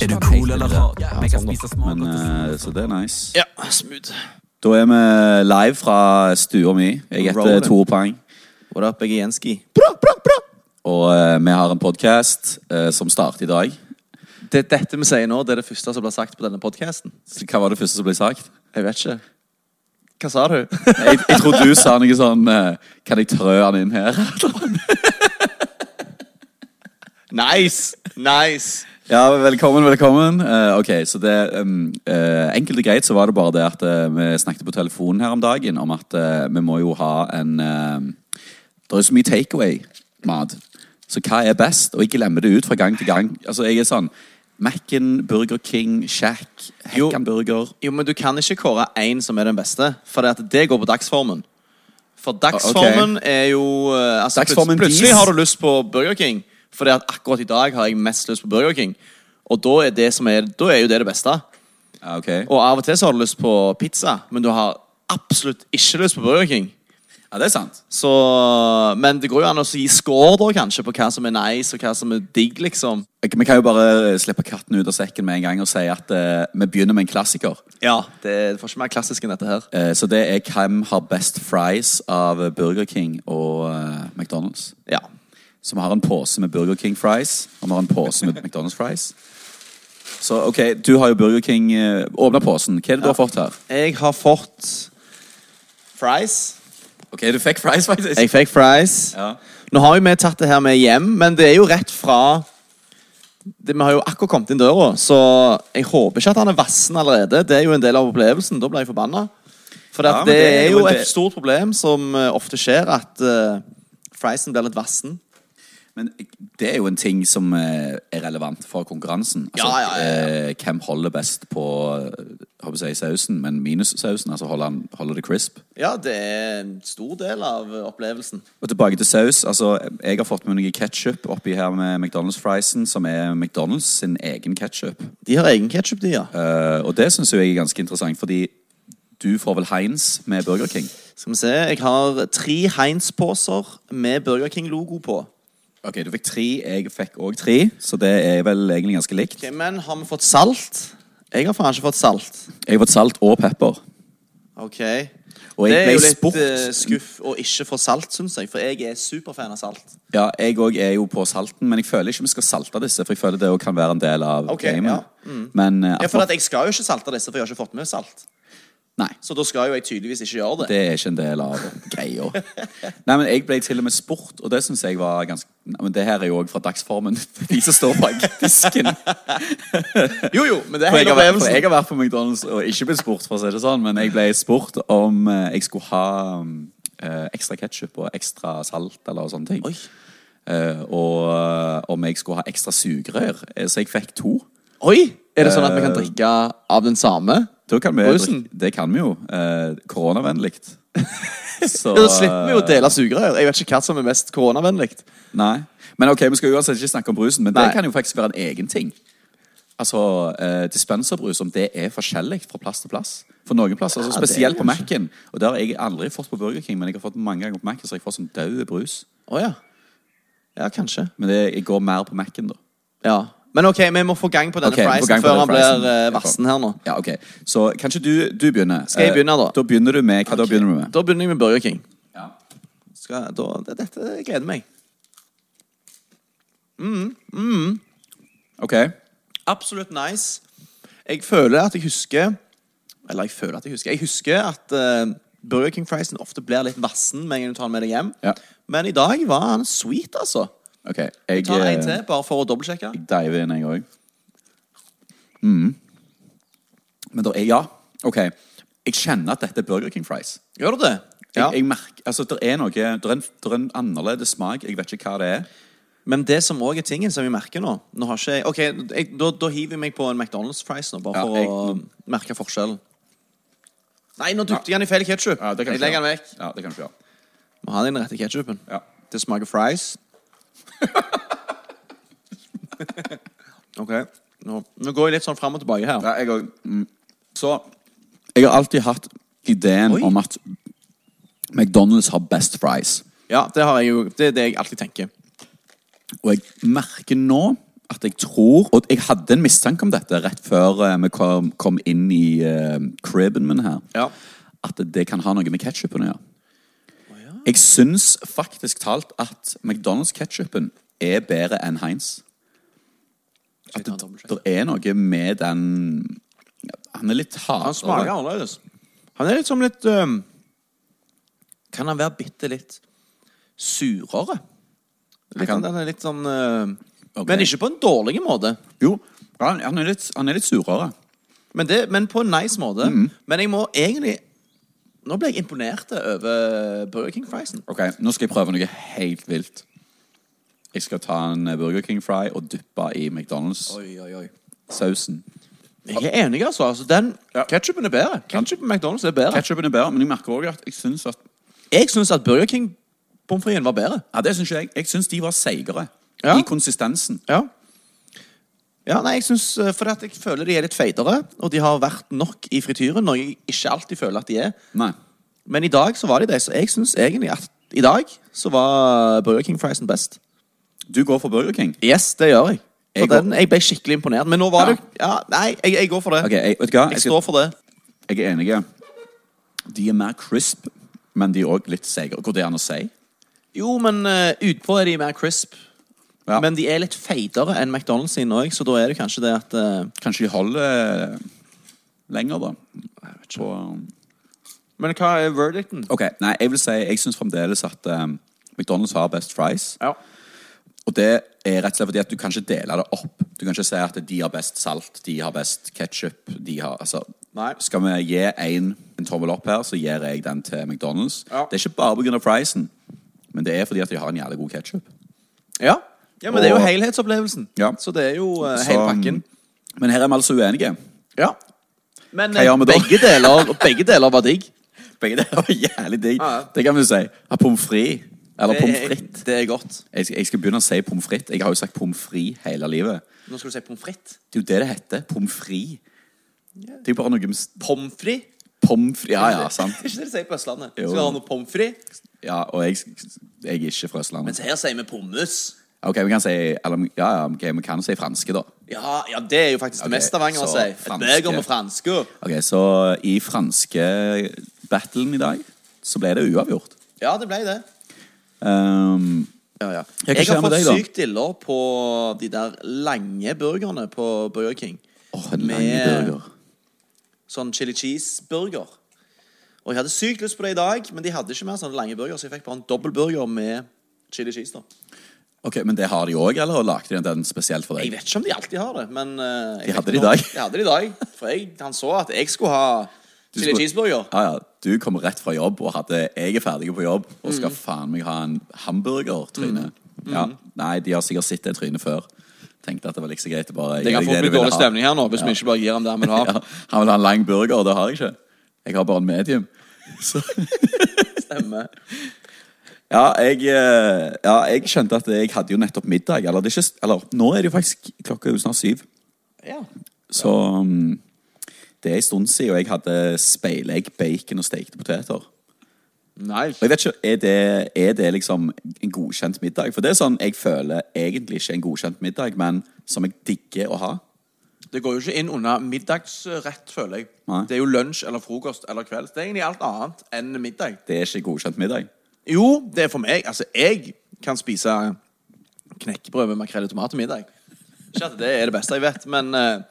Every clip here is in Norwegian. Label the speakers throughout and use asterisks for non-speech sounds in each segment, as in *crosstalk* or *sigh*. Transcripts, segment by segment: Speaker 1: Er du cool eller hard? Jeg kan spise smak
Speaker 2: Men,
Speaker 1: og
Speaker 2: eh, så det er nice.
Speaker 3: Ja, smooth.
Speaker 2: Da er vi live fra stua mi. Jeg heter
Speaker 4: Rolling.
Speaker 2: Tore Pang.
Speaker 4: What up, jeg er Jenski.
Speaker 2: Og eh, vi har en podkast som starter i dag.
Speaker 4: Det er dette vi sier nå, det er det første som blir sagt på denne podcasten.
Speaker 2: Så Hva var det første som ble sagt?
Speaker 4: Jeg vet ikke. Hva sa du? *laughs*
Speaker 2: Jeg, jeg tror du sa noe sånn eh, Kan jeg trø han inn her?
Speaker 4: Nice! Nice!
Speaker 2: Ja, velkommen, velkommen. Eh, ok, så det um, eh, Enkelt og greit så var det bare det at eh, vi snakket på telefonen her om dagen om at eh, vi må jo ha en eh, Det er jo så mye takeaway-mat. Så hva er best? Og jeg glemmer det ut fra gang til gang. Altså, jeg er sånn Mac-en, Burger King, Shack,
Speaker 4: Jo.
Speaker 2: Hekkan-burger
Speaker 4: Jo, men du kan ikke kåre én som er den beste, for det, at det går på dagsformen. For dagsformen er jo eh, altså,
Speaker 2: Dagsformen
Speaker 4: plut- Plutselig
Speaker 2: dis.
Speaker 4: har du lyst på Burger King, Fordi at akkurat i dag har jeg mest lyst på Burger King. Og da er, det som er, da er jo det det beste.
Speaker 2: Ja, ok.
Speaker 4: Og av og til så har du lyst på pizza, men du har absolutt ikke lyst på Burger King.
Speaker 2: Ja, det er sant.
Speaker 4: Så, men det går jo an å gi score da, kanskje, på hva som er nice, og hva som er digg, liksom.
Speaker 2: Vi kan jo bare eh, slippe katten ut av sekken med en gang og si at eh, vi begynner med en klassiker.
Speaker 4: Ja, det, det får ikke mer klassisk enn dette her.
Speaker 2: Eh, så det er hvem har best fries av Burger King og eh, McDonald's.
Speaker 4: Ja.
Speaker 2: Så vi har en pose med Burger King fries, og vi har en pose med McDonald's fries. Så ok, du har jo Burger King eh, Åpna posen. Hva er det du har fått her?
Speaker 4: Jeg har fått fries.
Speaker 2: Ok, du fikk fries, faktisk.
Speaker 4: Jeg fikk fries.
Speaker 2: Ja.
Speaker 4: Nå har jo vi tatt det her med hjem, men det er jo rett fra det, Vi har jo akkurat kommet inn døra, så jeg håper ikke at han er vassen allerede. Det er jo en del av opplevelsen. Da ble jeg forbanna. For
Speaker 2: Ja,
Speaker 4: at
Speaker 2: men
Speaker 4: det,
Speaker 2: det er
Speaker 4: er
Speaker 2: jo
Speaker 4: jo
Speaker 2: det-
Speaker 4: et stort problem som eh, ofte skjer, at eh, friesen blir litt vassen.
Speaker 2: Men det er jo en ting som eh, er relevant for konkurransen. Altså,
Speaker 4: Ja, ja, ja,
Speaker 2: eh, hvem holder best på eh, håper jeg, sausen, men minus sausen? Altså holder, han, holder det crisp?
Speaker 4: Ja, det er en stor del av eh, opplevelsen.
Speaker 2: Og tilbake til saus. altså Jeg har fått med noe ketsjup oppi her med McDonald's-friesen, som er McDonald's sin egen ketsjup.
Speaker 4: De har egen ketsjup, de, ja.
Speaker 2: Eh, og det syns jeg er ganske interessant, fordi du får vel Heinz med Burger King.
Speaker 4: Skal vi se, jeg har tre Heinz-poser med Burger King-logo på.
Speaker 2: Ok, Du fikk tre, jeg fikk òg tre, så det er vel egentlig ganske likt.
Speaker 4: Ok, Men har vi fått salt? Jeg har faen ikke fått salt.
Speaker 2: Jeg har fått salt og pepper.
Speaker 4: Ok.
Speaker 2: Og jeg
Speaker 4: det er
Speaker 2: ble
Speaker 4: jo litt
Speaker 2: spurt-
Speaker 4: eh, skuff å ikke få salt, syns jeg, for jeg er superfan av salt.
Speaker 2: Ja, Jeg òg er jo på salten, men jeg føler ikke vi skal salte disse. For jeg føler det også kan være en del av
Speaker 4: Ok,
Speaker 2: gamet.
Speaker 4: ja.
Speaker 2: Men eh,
Speaker 4: Ja, for at Jeg skal jo ikke salte disse, for jeg har ikke fått med salt.
Speaker 2: Nei,
Speaker 4: Så da skal jo jeg tydeligvis ikke gjøre det.
Speaker 2: det er ikke en del av greia. Nei, men jeg ble til og med spurt, og det syns jeg var ganske Nei, Men det her er jo òg fra dagsformen. De som står bak disken.
Speaker 4: Jo, jo, men det er
Speaker 2: For jeg,
Speaker 4: hele
Speaker 2: har vært, for jeg
Speaker 4: opplevelsen.
Speaker 2: har vært på McDonald's og ikke blitt spurt, for å si det sånn, men jeg ble spurt om eh, jeg skulle ha mm, eh, ekstra ketsjup og ekstra salt eller sånne ting. Eh, og eh, om jeg skulle ha ekstra sugerør. Eh, Så jeg fikk to.
Speaker 4: Oi! Er det sånn at vi kan drikke av den samme?
Speaker 2: Da kan vi,
Speaker 4: Brusen?
Speaker 2: drikke- det kan vi jo. Eh, Koronavennlig. Så
Speaker 4: Ja, Da slipper vi jo å dele sugerør. Jeg vet ikke hva som er mest koronavennlig.
Speaker 2: Nei. Men ok, vi skal uansett ikke snakke om brusen, men
Speaker 4: Nei.
Speaker 2: det kan jo faktisk være en egen ting. Altså, eh, Dispenserbrus, om det er forskjellig fra plass til plass. For noen plasser, altså
Speaker 4: det er
Speaker 2: Spesielt på Mac-en. Og det har jeg aldri fått på Burger King, men jeg har fått mange ganger på Mac-en, så jeg får sånn død brus.
Speaker 4: Å ja. Ja, kanskje.
Speaker 2: Men det, jeg går mer på Mac-en, da.
Speaker 4: Ja. Men OK, vi må få gang på denne
Speaker 2: Ok, vi får
Speaker 4: friesen
Speaker 2: gang på
Speaker 4: før
Speaker 2: den
Speaker 4: han
Speaker 2: friesen.
Speaker 4: blir eh, varsen her nå.
Speaker 2: Ja, ok. Så kanskje du, du begynner.
Speaker 4: Skal jeg
Speaker 2: Eh,
Speaker 4: begynne, da?
Speaker 2: Da begynner du med, Hva da begynner du med?
Speaker 4: Da begynner jeg med Burger King.
Speaker 2: Ja.
Speaker 4: Skal, da, det, dette jeg gleder meg.
Speaker 2: Ok.
Speaker 4: Absolutt nice. Jeg føler at jeg husker Eller jeg føler at jeg husker Jeg husker at eh, Burger King-friesen ofte blir litt vassen med en gang du tar den med deg hjem.
Speaker 2: Ja.
Speaker 4: Men i dag var han sweet, altså.
Speaker 2: ok. Jeg,
Speaker 4: Jeg tar en
Speaker 2: eh,
Speaker 4: til, bare for å dobbeltsjekke.
Speaker 2: dive inn, jeg òg. Mm. Men der er Ja, OK. Jeg kjenner at dette er Burger King fries.
Speaker 4: Gjør du det?
Speaker 2: Jeg, jeg merker, altså, der er noe Det er, en, der er en annerledes smak. Jeg vet ikke hva det er.
Speaker 4: Men det som òg er tingen som vi merker nå Nå har ikke jeg Ok, jeg, da, da hiver jeg meg på en McDonald's fries nå, bare
Speaker 2: Ja,
Speaker 4: for
Speaker 2: jeg-
Speaker 4: å merke forskjellen. Nei, nå dypte jeg den i feil ketsjup. jeg legger den vekk.
Speaker 2: Ja, det kan du ikke gjøre.
Speaker 4: Må ha den rette ketsjupen.
Speaker 2: Ja.
Speaker 4: Det smaker fries. ok. Nå, nå går jeg litt sånn fram og tilbake her.
Speaker 2: Ja, jeg òg. Mm. Så Jeg har alltid hatt ideen
Speaker 4: Oi.
Speaker 2: om at McDonald's har best fries.
Speaker 4: Ja, det, har jeg jo, det er det jeg alltid tenker.
Speaker 2: Og jeg merker nå at jeg tror Og jeg hadde en mistanke om dette rett før eh, vi kom, kom inn i eh, criben min her.
Speaker 4: Ja.
Speaker 2: At det kan ha noe med ketsjupen å gjøre. Jeg syns faktisk talt at McDonald's-ketsjupen er bedre enn Heinz. At det, det er noe med den Han er litt hardere.
Speaker 4: Han smaker annerledes. Han er litt som litt øhm, Kan han være bitte litt surere? Litt,
Speaker 2: kan-
Speaker 4: Den er litt sånn øhm,
Speaker 2: Ok.
Speaker 4: Men ikke på en dårlig måte.
Speaker 2: Jo, han, han, er litt, han er litt surere.
Speaker 4: Men, det, men på en nice måte. Men jeg må egentlig Nå ble jeg imponert over Burger King Friesen.
Speaker 2: Ok, Nå skal jeg prøve noe helt vilt. Jeg skal ta en eh, Burger King fry og dyppe i McDonald's-sausen.
Speaker 4: Oi, oi, oi. Jeg er enig, altså. altså den Ketchupen er bedre. Ketchupen på McDonald's er bedre.
Speaker 2: Ketchupen er bedre, men jeg merker også at jeg syns at
Speaker 4: Jeg syns at Burger King pommes fritesen var bedre.
Speaker 2: Ja, det syns jeg. Jeg syns de var seigere
Speaker 4: Ja.
Speaker 2: i konsistensen.
Speaker 4: Ja. Ja, nei, jeg synes, eh, For at jeg føler de er litt feitere, og de har vært nok i frityren. Noe jeg ikke alltid føler at de er.
Speaker 2: Nei.
Speaker 4: Men i dag så var de det, så jeg syns egentlig at i dag så var Burger King friesen best.
Speaker 2: Du går for Burger King.
Speaker 4: Yes, det gjør jeg. For
Speaker 2: Jeg
Speaker 4: jeg, den, jeg ble skikkelig imponert. Men nå var
Speaker 2: Ja.
Speaker 4: det ja, Nei, jeg, jeg går for det.
Speaker 2: Ok, jeg, vet du hva?
Speaker 4: jeg,
Speaker 2: Jeg, skal,
Speaker 4: står for det.
Speaker 2: jeg er enig. De er mer crisp, men de er òg litt seigere. Går det an å si?
Speaker 4: Jo, men eh, utpå er de mer crisp.
Speaker 2: Ja.
Speaker 4: Men de er litt feitere enn McDonald's sine òg, så da er det kanskje det at eh,
Speaker 2: Kanskje de holder eh, lenger, da. På, um,
Speaker 4: Men hva er verdicten?
Speaker 2: ok, nei, jeg vil si jeg syns fremdeles at eh, McDonald's har best fries.
Speaker 4: Ja.
Speaker 2: Og det er rett og slett fordi at du kan ikke dele det opp. Du kan ikke si at de har best salt, de har best ketsjup, de har Altså
Speaker 4: Nei.
Speaker 2: Skal vi gi en, en tommel opp her, så gir jeg den til McDonald's.
Speaker 4: Ja.
Speaker 2: Det er ikke bare pga. friesen, men det er fordi at de har en jævlig god ketsjup.
Speaker 4: Ja. ja, men det er jo
Speaker 2: Og-
Speaker 4: helhetsopplevelsen.
Speaker 2: Ja.
Speaker 4: Så det er jo uh, hele pakken.
Speaker 2: Men her er vi altså uenige.
Speaker 4: Ja. Men
Speaker 2: Hva
Speaker 4: eh,
Speaker 2: gjør vi da? *laughs*
Speaker 4: begge, deler, begge deler var digg.
Speaker 2: Begge deler var jævlig digg.
Speaker 4: Ja, ja.
Speaker 2: Det kan vi si. Ja, Pommes frites. Eller pommes frites.
Speaker 4: Det er godt.
Speaker 2: Jeg, skal- jeg skal begynne å si pommes frites. Jeg har jo sagt pommes frites hele livet.
Speaker 4: Nå skal du si pommes frites.
Speaker 2: Det er jo det det heter. Pommes frites. Det er jo bare noe med s-
Speaker 4: Pommes frites?
Speaker 2: pommes frites Ja, ja, sant.
Speaker 4: Er *laughs* ikke det de sier på Østlandet?
Speaker 2: Jo.
Speaker 4: Skal du ha noe pommes frites?
Speaker 2: Ja, og jeg, jeg er ikke fra Østlandet.
Speaker 4: Mens her sier vi pommes.
Speaker 2: Ok, vi kan si eller, ja, ja, ok, vi kan si franske, da.
Speaker 4: Ja, ja, det er jo faktisk det
Speaker 2: Ok,
Speaker 4: mest stavanger å
Speaker 2: så
Speaker 4: si.
Speaker 2: franske.
Speaker 4: Et beger med franske.
Speaker 2: Ok, Så i franske battlen i dag så ble det uavgjort.
Speaker 4: Ja, det ble det.
Speaker 2: Ehm,
Speaker 4: Ja, ja.
Speaker 2: Ja, hva
Speaker 4: Jeg
Speaker 2: skjer
Speaker 4: har
Speaker 2: med
Speaker 4: fått
Speaker 2: deg, da?
Speaker 4: sykt diller på de der lange burgerne på Burger King.
Speaker 2: Åh, en lang
Speaker 4: Med-
Speaker 2: burger.
Speaker 4: Sånn chili cheese-burger. Og jeg hadde sykt lyst på det i dag, men de hadde ikke mer sånne lange burger, så jeg fikk bare en dobbel burger med chili cheese. da.
Speaker 2: Ok, Men det har de òg, eller lagde de den spesielt for
Speaker 4: Jeg
Speaker 2: deg?
Speaker 4: vet ikke om de alltid har det, men eh, jeg
Speaker 2: De hadde
Speaker 4: vet
Speaker 2: det i
Speaker 4: nå-
Speaker 2: dag.
Speaker 4: De hadde det i dag, For jeg, han så at jeg skulle ha
Speaker 2: Du
Speaker 4: chili
Speaker 2: skulle-
Speaker 4: cheeseburger.
Speaker 2: Ja, ja, Du kom rett fra jobb og hadde Jeg er ferdig på jobb og
Speaker 4: Mm.
Speaker 2: skal faen meg ha en hamburger, Tryne. Ja, Nei, de har sikkert sett det trynet før. Tenkte at det var like så greit å bare gi
Speaker 4: Det
Speaker 2: deg
Speaker 4: kan fort
Speaker 2: du
Speaker 4: bli
Speaker 2: ville
Speaker 4: dårlig
Speaker 2: ha.
Speaker 4: stemning her nå hvis vi ikke bare gir ham det han vil ha.
Speaker 2: *laughs* Ja, han vil ha en lang burger, og det har jeg ikke. Jeg har bare en medium. Så.
Speaker 4: Stemmer.
Speaker 2: Ja, jeg, eh, ja, jeg skjønte at jeg hadde jo nettopp middag. Eller, det er ikke, eller nå er det jo faktisk klokka er jo snart syv.
Speaker 4: Ja.
Speaker 2: Så mm, det er en stund siden og jeg hadde speilegg, bacon og stekte poteter. Og
Speaker 4: Nice.
Speaker 2: jeg vet ikke, er det, er det liksom en godkjent middag? For det er sånn jeg føler egentlig ikke en godkjent middag, men som jeg digger å ha.
Speaker 4: Det går jo ikke inn under middagsrett, føler jeg.
Speaker 2: Nei.
Speaker 4: Det er jo lunsj eller frokost eller kvelds. Det er egentlig alt annet enn middag.
Speaker 2: Det er ikke godkjent middag.
Speaker 4: Jo, det er for meg. Altså, jeg kan spise knekkebrød med makrell i tomat til middag. Ikke at det er det beste jeg vet, men, eh,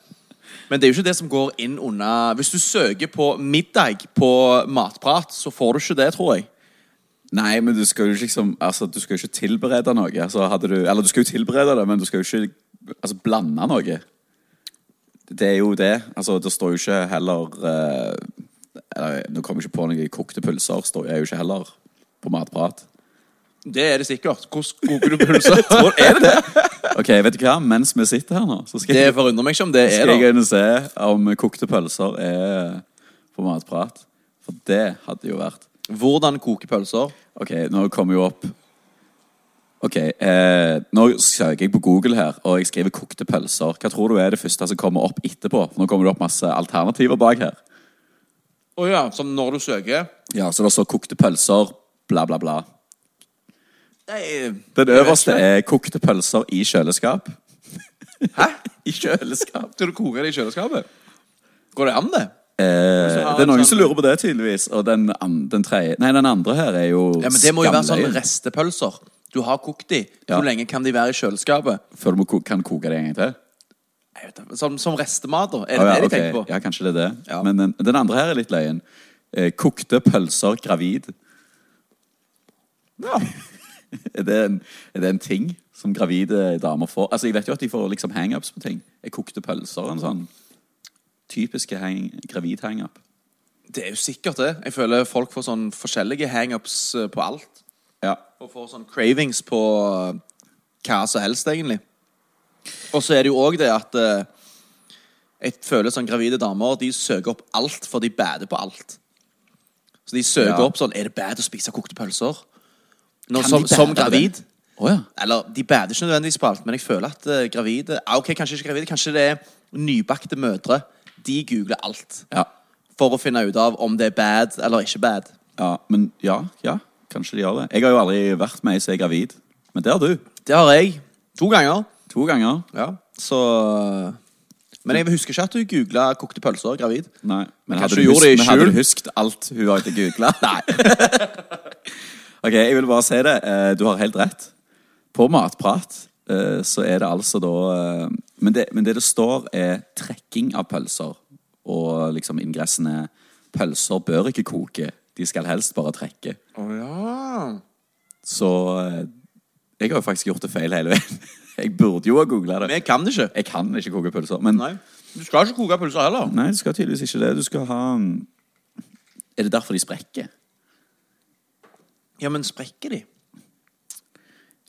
Speaker 4: men det er jo ikke det som går inn under Hvis du søker på middag på Matprat, så får du ikke det, tror jeg.
Speaker 2: Nei, men du skal jo ikke liksom Altså, du skal jo ikke tilberede noe. Altså, hadde du, eller du skal jo tilberede det, men du skal jo ikke altså, blande noe. Det er jo det. Altså, det står jo ikke heller eh, eller, Nå kommer jeg ikke på noe kokte pølser. Står jeg jo ikke heller på matprat.
Speaker 4: Det er det sikkert. Hvordan koker du pølser?
Speaker 2: *laughs* Er det det? Ok, vet du hva? Mens vi sitter her nå, så skal,
Speaker 4: det
Speaker 2: jeg,
Speaker 4: forundrer meg ikke om det er
Speaker 2: skal jeg
Speaker 4: det.
Speaker 2: inn og se om kokte pølser er på matprat. For det hadde jo vært
Speaker 4: Hvordan koke pølser?
Speaker 2: Ok, nå kommer jo opp Ok, eh, nå søker jeg på Google her, og jeg skriver kokte pølser. Hva tror du er det første som kommer opp etterpå? Nå kommer det opp masse alternativer bak her.
Speaker 4: Å ja, som når du søker
Speaker 2: Ja, så det står kokte pølser, bla, bla, bla.
Speaker 4: Nei,
Speaker 2: Den øverste er kokte pølser i kjøleskap.
Speaker 4: Hæ?
Speaker 2: I kjøleskap.
Speaker 4: Skal du koke det i kjøleskapet? Går det an, det?
Speaker 2: *laughs* Eh,
Speaker 4: har
Speaker 2: det er noen
Speaker 4: han
Speaker 2: som
Speaker 4: sånn-
Speaker 2: lurer på det, tydeligvis. Og den, an- den, tredje- nei, den andre her er jo
Speaker 4: Ja, men Det må jo være sånn
Speaker 2: skamløyen.
Speaker 4: restepølser. Du har kokt de.
Speaker 2: Ja.
Speaker 4: Hvor lenge kan de være i kjøleskapet?
Speaker 2: Før du må ko kan koke det en gang til?
Speaker 4: Jeg vet, ikke, som, som restemat, da? Er
Speaker 2: Å ja,
Speaker 4: det det de
Speaker 2: ok.
Speaker 4: tenker på?
Speaker 2: ja, kanskje det er det.
Speaker 4: Ja.
Speaker 2: Men den, den andre her er litt løyen. Eh, kokte pølser gravid.
Speaker 4: Ja.
Speaker 2: *laughs* Er det, en, er det en ting som gravide damer får? Altså, Jeg vet jo at de får liksom hangups på ting. Jeg kokte pølser en sånn typiske hang, gravid hangup.
Speaker 4: Det er jo sikkert det. Jeg føler folk får sånn forskjellige hangups eh, på alt.
Speaker 2: Ja.
Speaker 4: Og får sånn cravings på eh, hva som helst, egentlig. Og så er det jo òg det at eh, jeg føler sånn gravide damer De søker opp alt, for de bader på alt. Så de søker
Speaker 2: Ja.
Speaker 4: opp sånn Er det bad å spise kokte pølser? Nå,
Speaker 2: Kan
Speaker 4: som,
Speaker 2: de bade
Speaker 4: som
Speaker 2: av det?
Speaker 4: gravid.
Speaker 2: Å ja.
Speaker 4: Eller de bader ikke nødvendigvis på alt, men jeg føler at eh, gravide ah, Ok, kanskje ikke gravide, kanskje det er nybakte mødre. De googler alt
Speaker 2: Ja.
Speaker 4: for å finne ut av om det er bad eller ikke bad.
Speaker 2: ja. Men ja, ja, kanskje de gjør det. Jeg har jo aldri vært med ei som er gravid. Men det har du.
Speaker 4: Det har jeg. To ganger.
Speaker 2: To ganger.
Speaker 4: Ja, så eh, Men jeg husker ikke at du googla kokte pølser gravid.
Speaker 2: Nei, men hadde
Speaker 4: kanskje
Speaker 2: du,
Speaker 4: hun gjorde det
Speaker 2: husket,
Speaker 4: i
Speaker 2: men hadde
Speaker 4: skjul?
Speaker 2: du husket alt hun har ikke googla? *laughs* Nei. ok, jeg vil bare si det. Eh, Du har helt rett. På Matprat eh, så er det altså da eh, men det, men det det står, er trekking av pølser. Og liksom ingressen er pølser bør ikke koke, de skal helst bare trekke.
Speaker 4: Å ja.
Speaker 2: Så eh, jeg har jo faktisk gjort det feil hele veien. *laughs* Jeg burde jo ha googla
Speaker 4: Men
Speaker 2: det.
Speaker 4: jeg kan det ikke.
Speaker 2: Jeg kan ikke koke pølser. Men
Speaker 4: Nei. Du skal ikke koke pølser heller.
Speaker 2: Nei, du skal tydeligvis ikke det. Du skal ha mm, Er det derfor de sprekker?
Speaker 4: Ja, men sprekker de?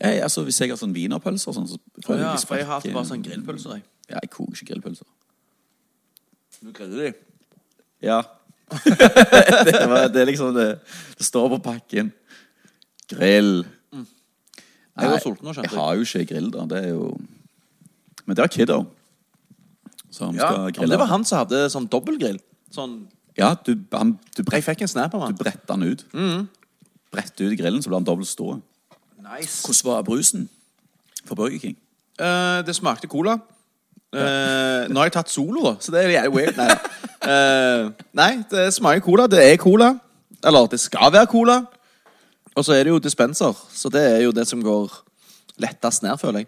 Speaker 2: Jeg, altså, hvis jeg har sånn wienerpølser og sånn, så
Speaker 4: Å
Speaker 2: føler
Speaker 4: ja,
Speaker 2: jeg de
Speaker 4: for jeg
Speaker 2: sprekker.
Speaker 4: har alltid bare sånn grillpølser. Jeg.
Speaker 2: Ja, jeg koker ikke grillpølser.
Speaker 4: Du griller de.
Speaker 2: Ja. *laughs* det, var, det er liksom det Det står på pakken. Grill.
Speaker 4: Jeg Mm. var
Speaker 2: Nei,
Speaker 4: sulten nå, skjønte
Speaker 2: Jeg har jo ikke grill, da. Det er jo Men det har Kiddo. Så han
Speaker 4: Ja.
Speaker 2: skal
Speaker 4: men
Speaker 2: grille.
Speaker 4: det var han som hadde sånn dobbeltgrill. Sånn
Speaker 2: Ja, du, han, du,
Speaker 4: Jeg
Speaker 2: brett,
Speaker 4: fikk en snap av
Speaker 2: du
Speaker 4: han.
Speaker 2: bretter han ut.
Speaker 4: Mm.
Speaker 2: Bretter ut grillen, så blir han dobbelt stor.
Speaker 4: Nice.
Speaker 2: Hvordan var brusen for Burger King?
Speaker 4: Eh, det smakte cola. Eh, nå har jeg tatt solo, da, så det er jævlig weird. Nei, Eh, nei det smaker cola. Det er cola. Eller det skal være cola. Og så er det jo dispenser, så det er jo det som går lettest ned, føler jeg.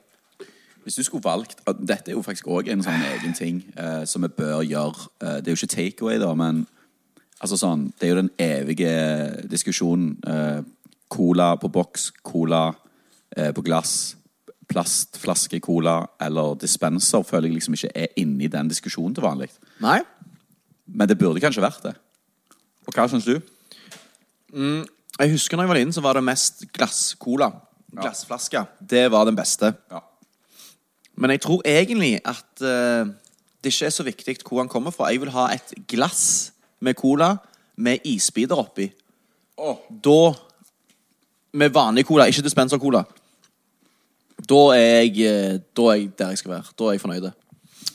Speaker 2: Hvis du skulle valgt at Dette er jo faktisk òg en sånn egen ting eh, som vi bør gjøre. Eh, det er jo ikke takeaway, da, men altså sånn, det er jo den evige diskusjonen. Eh, cola på boks, cola eh, på glass, plastflaske cola eller dispenser føler jeg liksom ikke er inni den diskusjonen til vanlig.
Speaker 4: Nei.
Speaker 2: Men det burde kanskje vært det. Og hva syns du?
Speaker 4: Jeg husker når jeg var liten, så var det mest glasscola. Glassflasker. Det var den beste.
Speaker 2: Ja.
Speaker 4: Men jeg tror egentlig at eh, det ikke er så viktig hvor han kommer fra. Jeg vil ha et glass med cola med isbiter oppi. Da Med vanlig cola, ikke dispenser-cola. Da er jeg eh, Da er jeg der jeg skal være. Da er jeg fornøyd.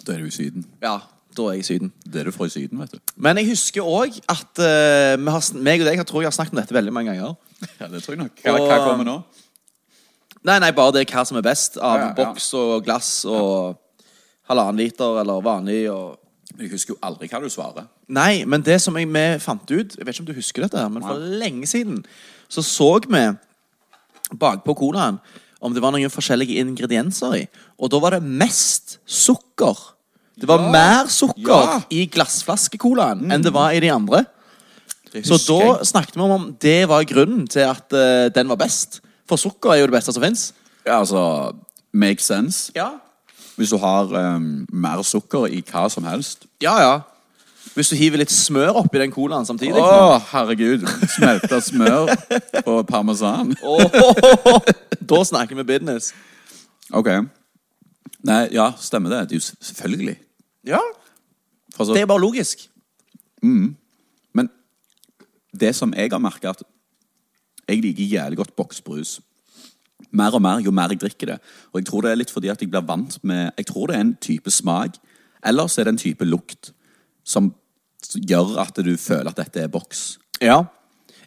Speaker 2: Da er du i Syden.
Speaker 4: Ja, da er jeg i Syden.
Speaker 2: Det er du fra i Syden, vet du.
Speaker 4: Men jeg husker òg at eh, vi har, sn- meg og deg jeg tror jeg har snakket om dette veldig mange ganger.
Speaker 2: *laughs* Ja, det tror jeg nok.
Speaker 4: Hva-
Speaker 2: Hva,
Speaker 4: hva kommer
Speaker 2: kommer nå?
Speaker 4: Nei, nei, bare det hva som er best av
Speaker 2: Ja, ja, ja.
Speaker 4: boks og glass og halvannen liter eller vanlig og
Speaker 2: Jeg husker jo aldri hva du svarer.
Speaker 4: Nei, men det som jeg, vi fant ut Jeg vet ikke om du husker dette, her, men for lenge siden så så vi bakpå colaen om det var noen forskjellige ingredienser i. Og da var det mest sukker. Det var
Speaker 2: Ja.
Speaker 4: mer sukker
Speaker 2: Ja.
Speaker 4: i glassflaskecolaen enn det var i de andre. Så da snakket vi om om det var grunnen til at eh, den var best. For sukker er jo det beste som fins.
Speaker 2: Ja, altså Make sense.
Speaker 4: Ja.
Speaker 2: Hvis du har um, mer sukker i hva som helst
Speaker 4: ja, Hvis du hiver litt smør oppi den colaen samtidig.
Speaker 2: Å, herregud! Smelta smør *laughs* og parmesan.
Speaker 4: Åh, da snakker vi business.
Speaker 2: Ok. Nei, ja, stemmer det. Det er jo s- selvfølgelig.
Speaker 4: Ja,
Speaker 2: For altså,
Speaker 4: Det er bare logisk.
Speaker 2: Men det som jeg har merka at Jeg liker jævlig godt boksbrus. Mer og mer jo mer jeg drikker det. Og jeg tror det er litt fordi at jeg blir vant med Jeg tror det er en type smak, eller så er det en type lukt som gjør at du føler at dette er boks.
Speaker 4: Ja.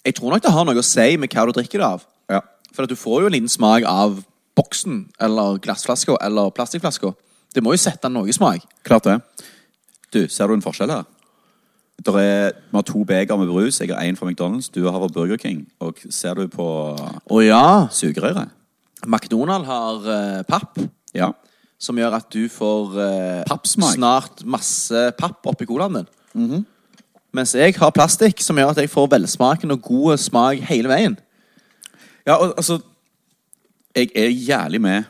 Speaker 4: Jeg tror nok det har noe å si med hva du drikker det av.
Speaker 2: Ja.
Speaker 4: For at du får jo en liten smak av boksen eller glassflaska eller plastflaska. Det må jo sette noe smak.
Speaker 2: Klart det. Du, ser du en forskjell her? Der er, vi har to beger med brus. Jeg har én fra McDonald's, du har fra Burger King. Og ser du på
Speaker 4: Å ja.
Speaker 2: sugerøret?
Speaker 4: McDonald har eh, papp,
Speaker 2: Ja.
Speaker 4: som gjør at du får eh,
Speaker 2: Pappsmak.
Speaker 4: snart masse papp oppi colaen din. Mens jeg har plastikk, som gjør at jeg får velsmaken og god smak hele veien.
Speaker 2: ja og, altså Jeg er jævlig med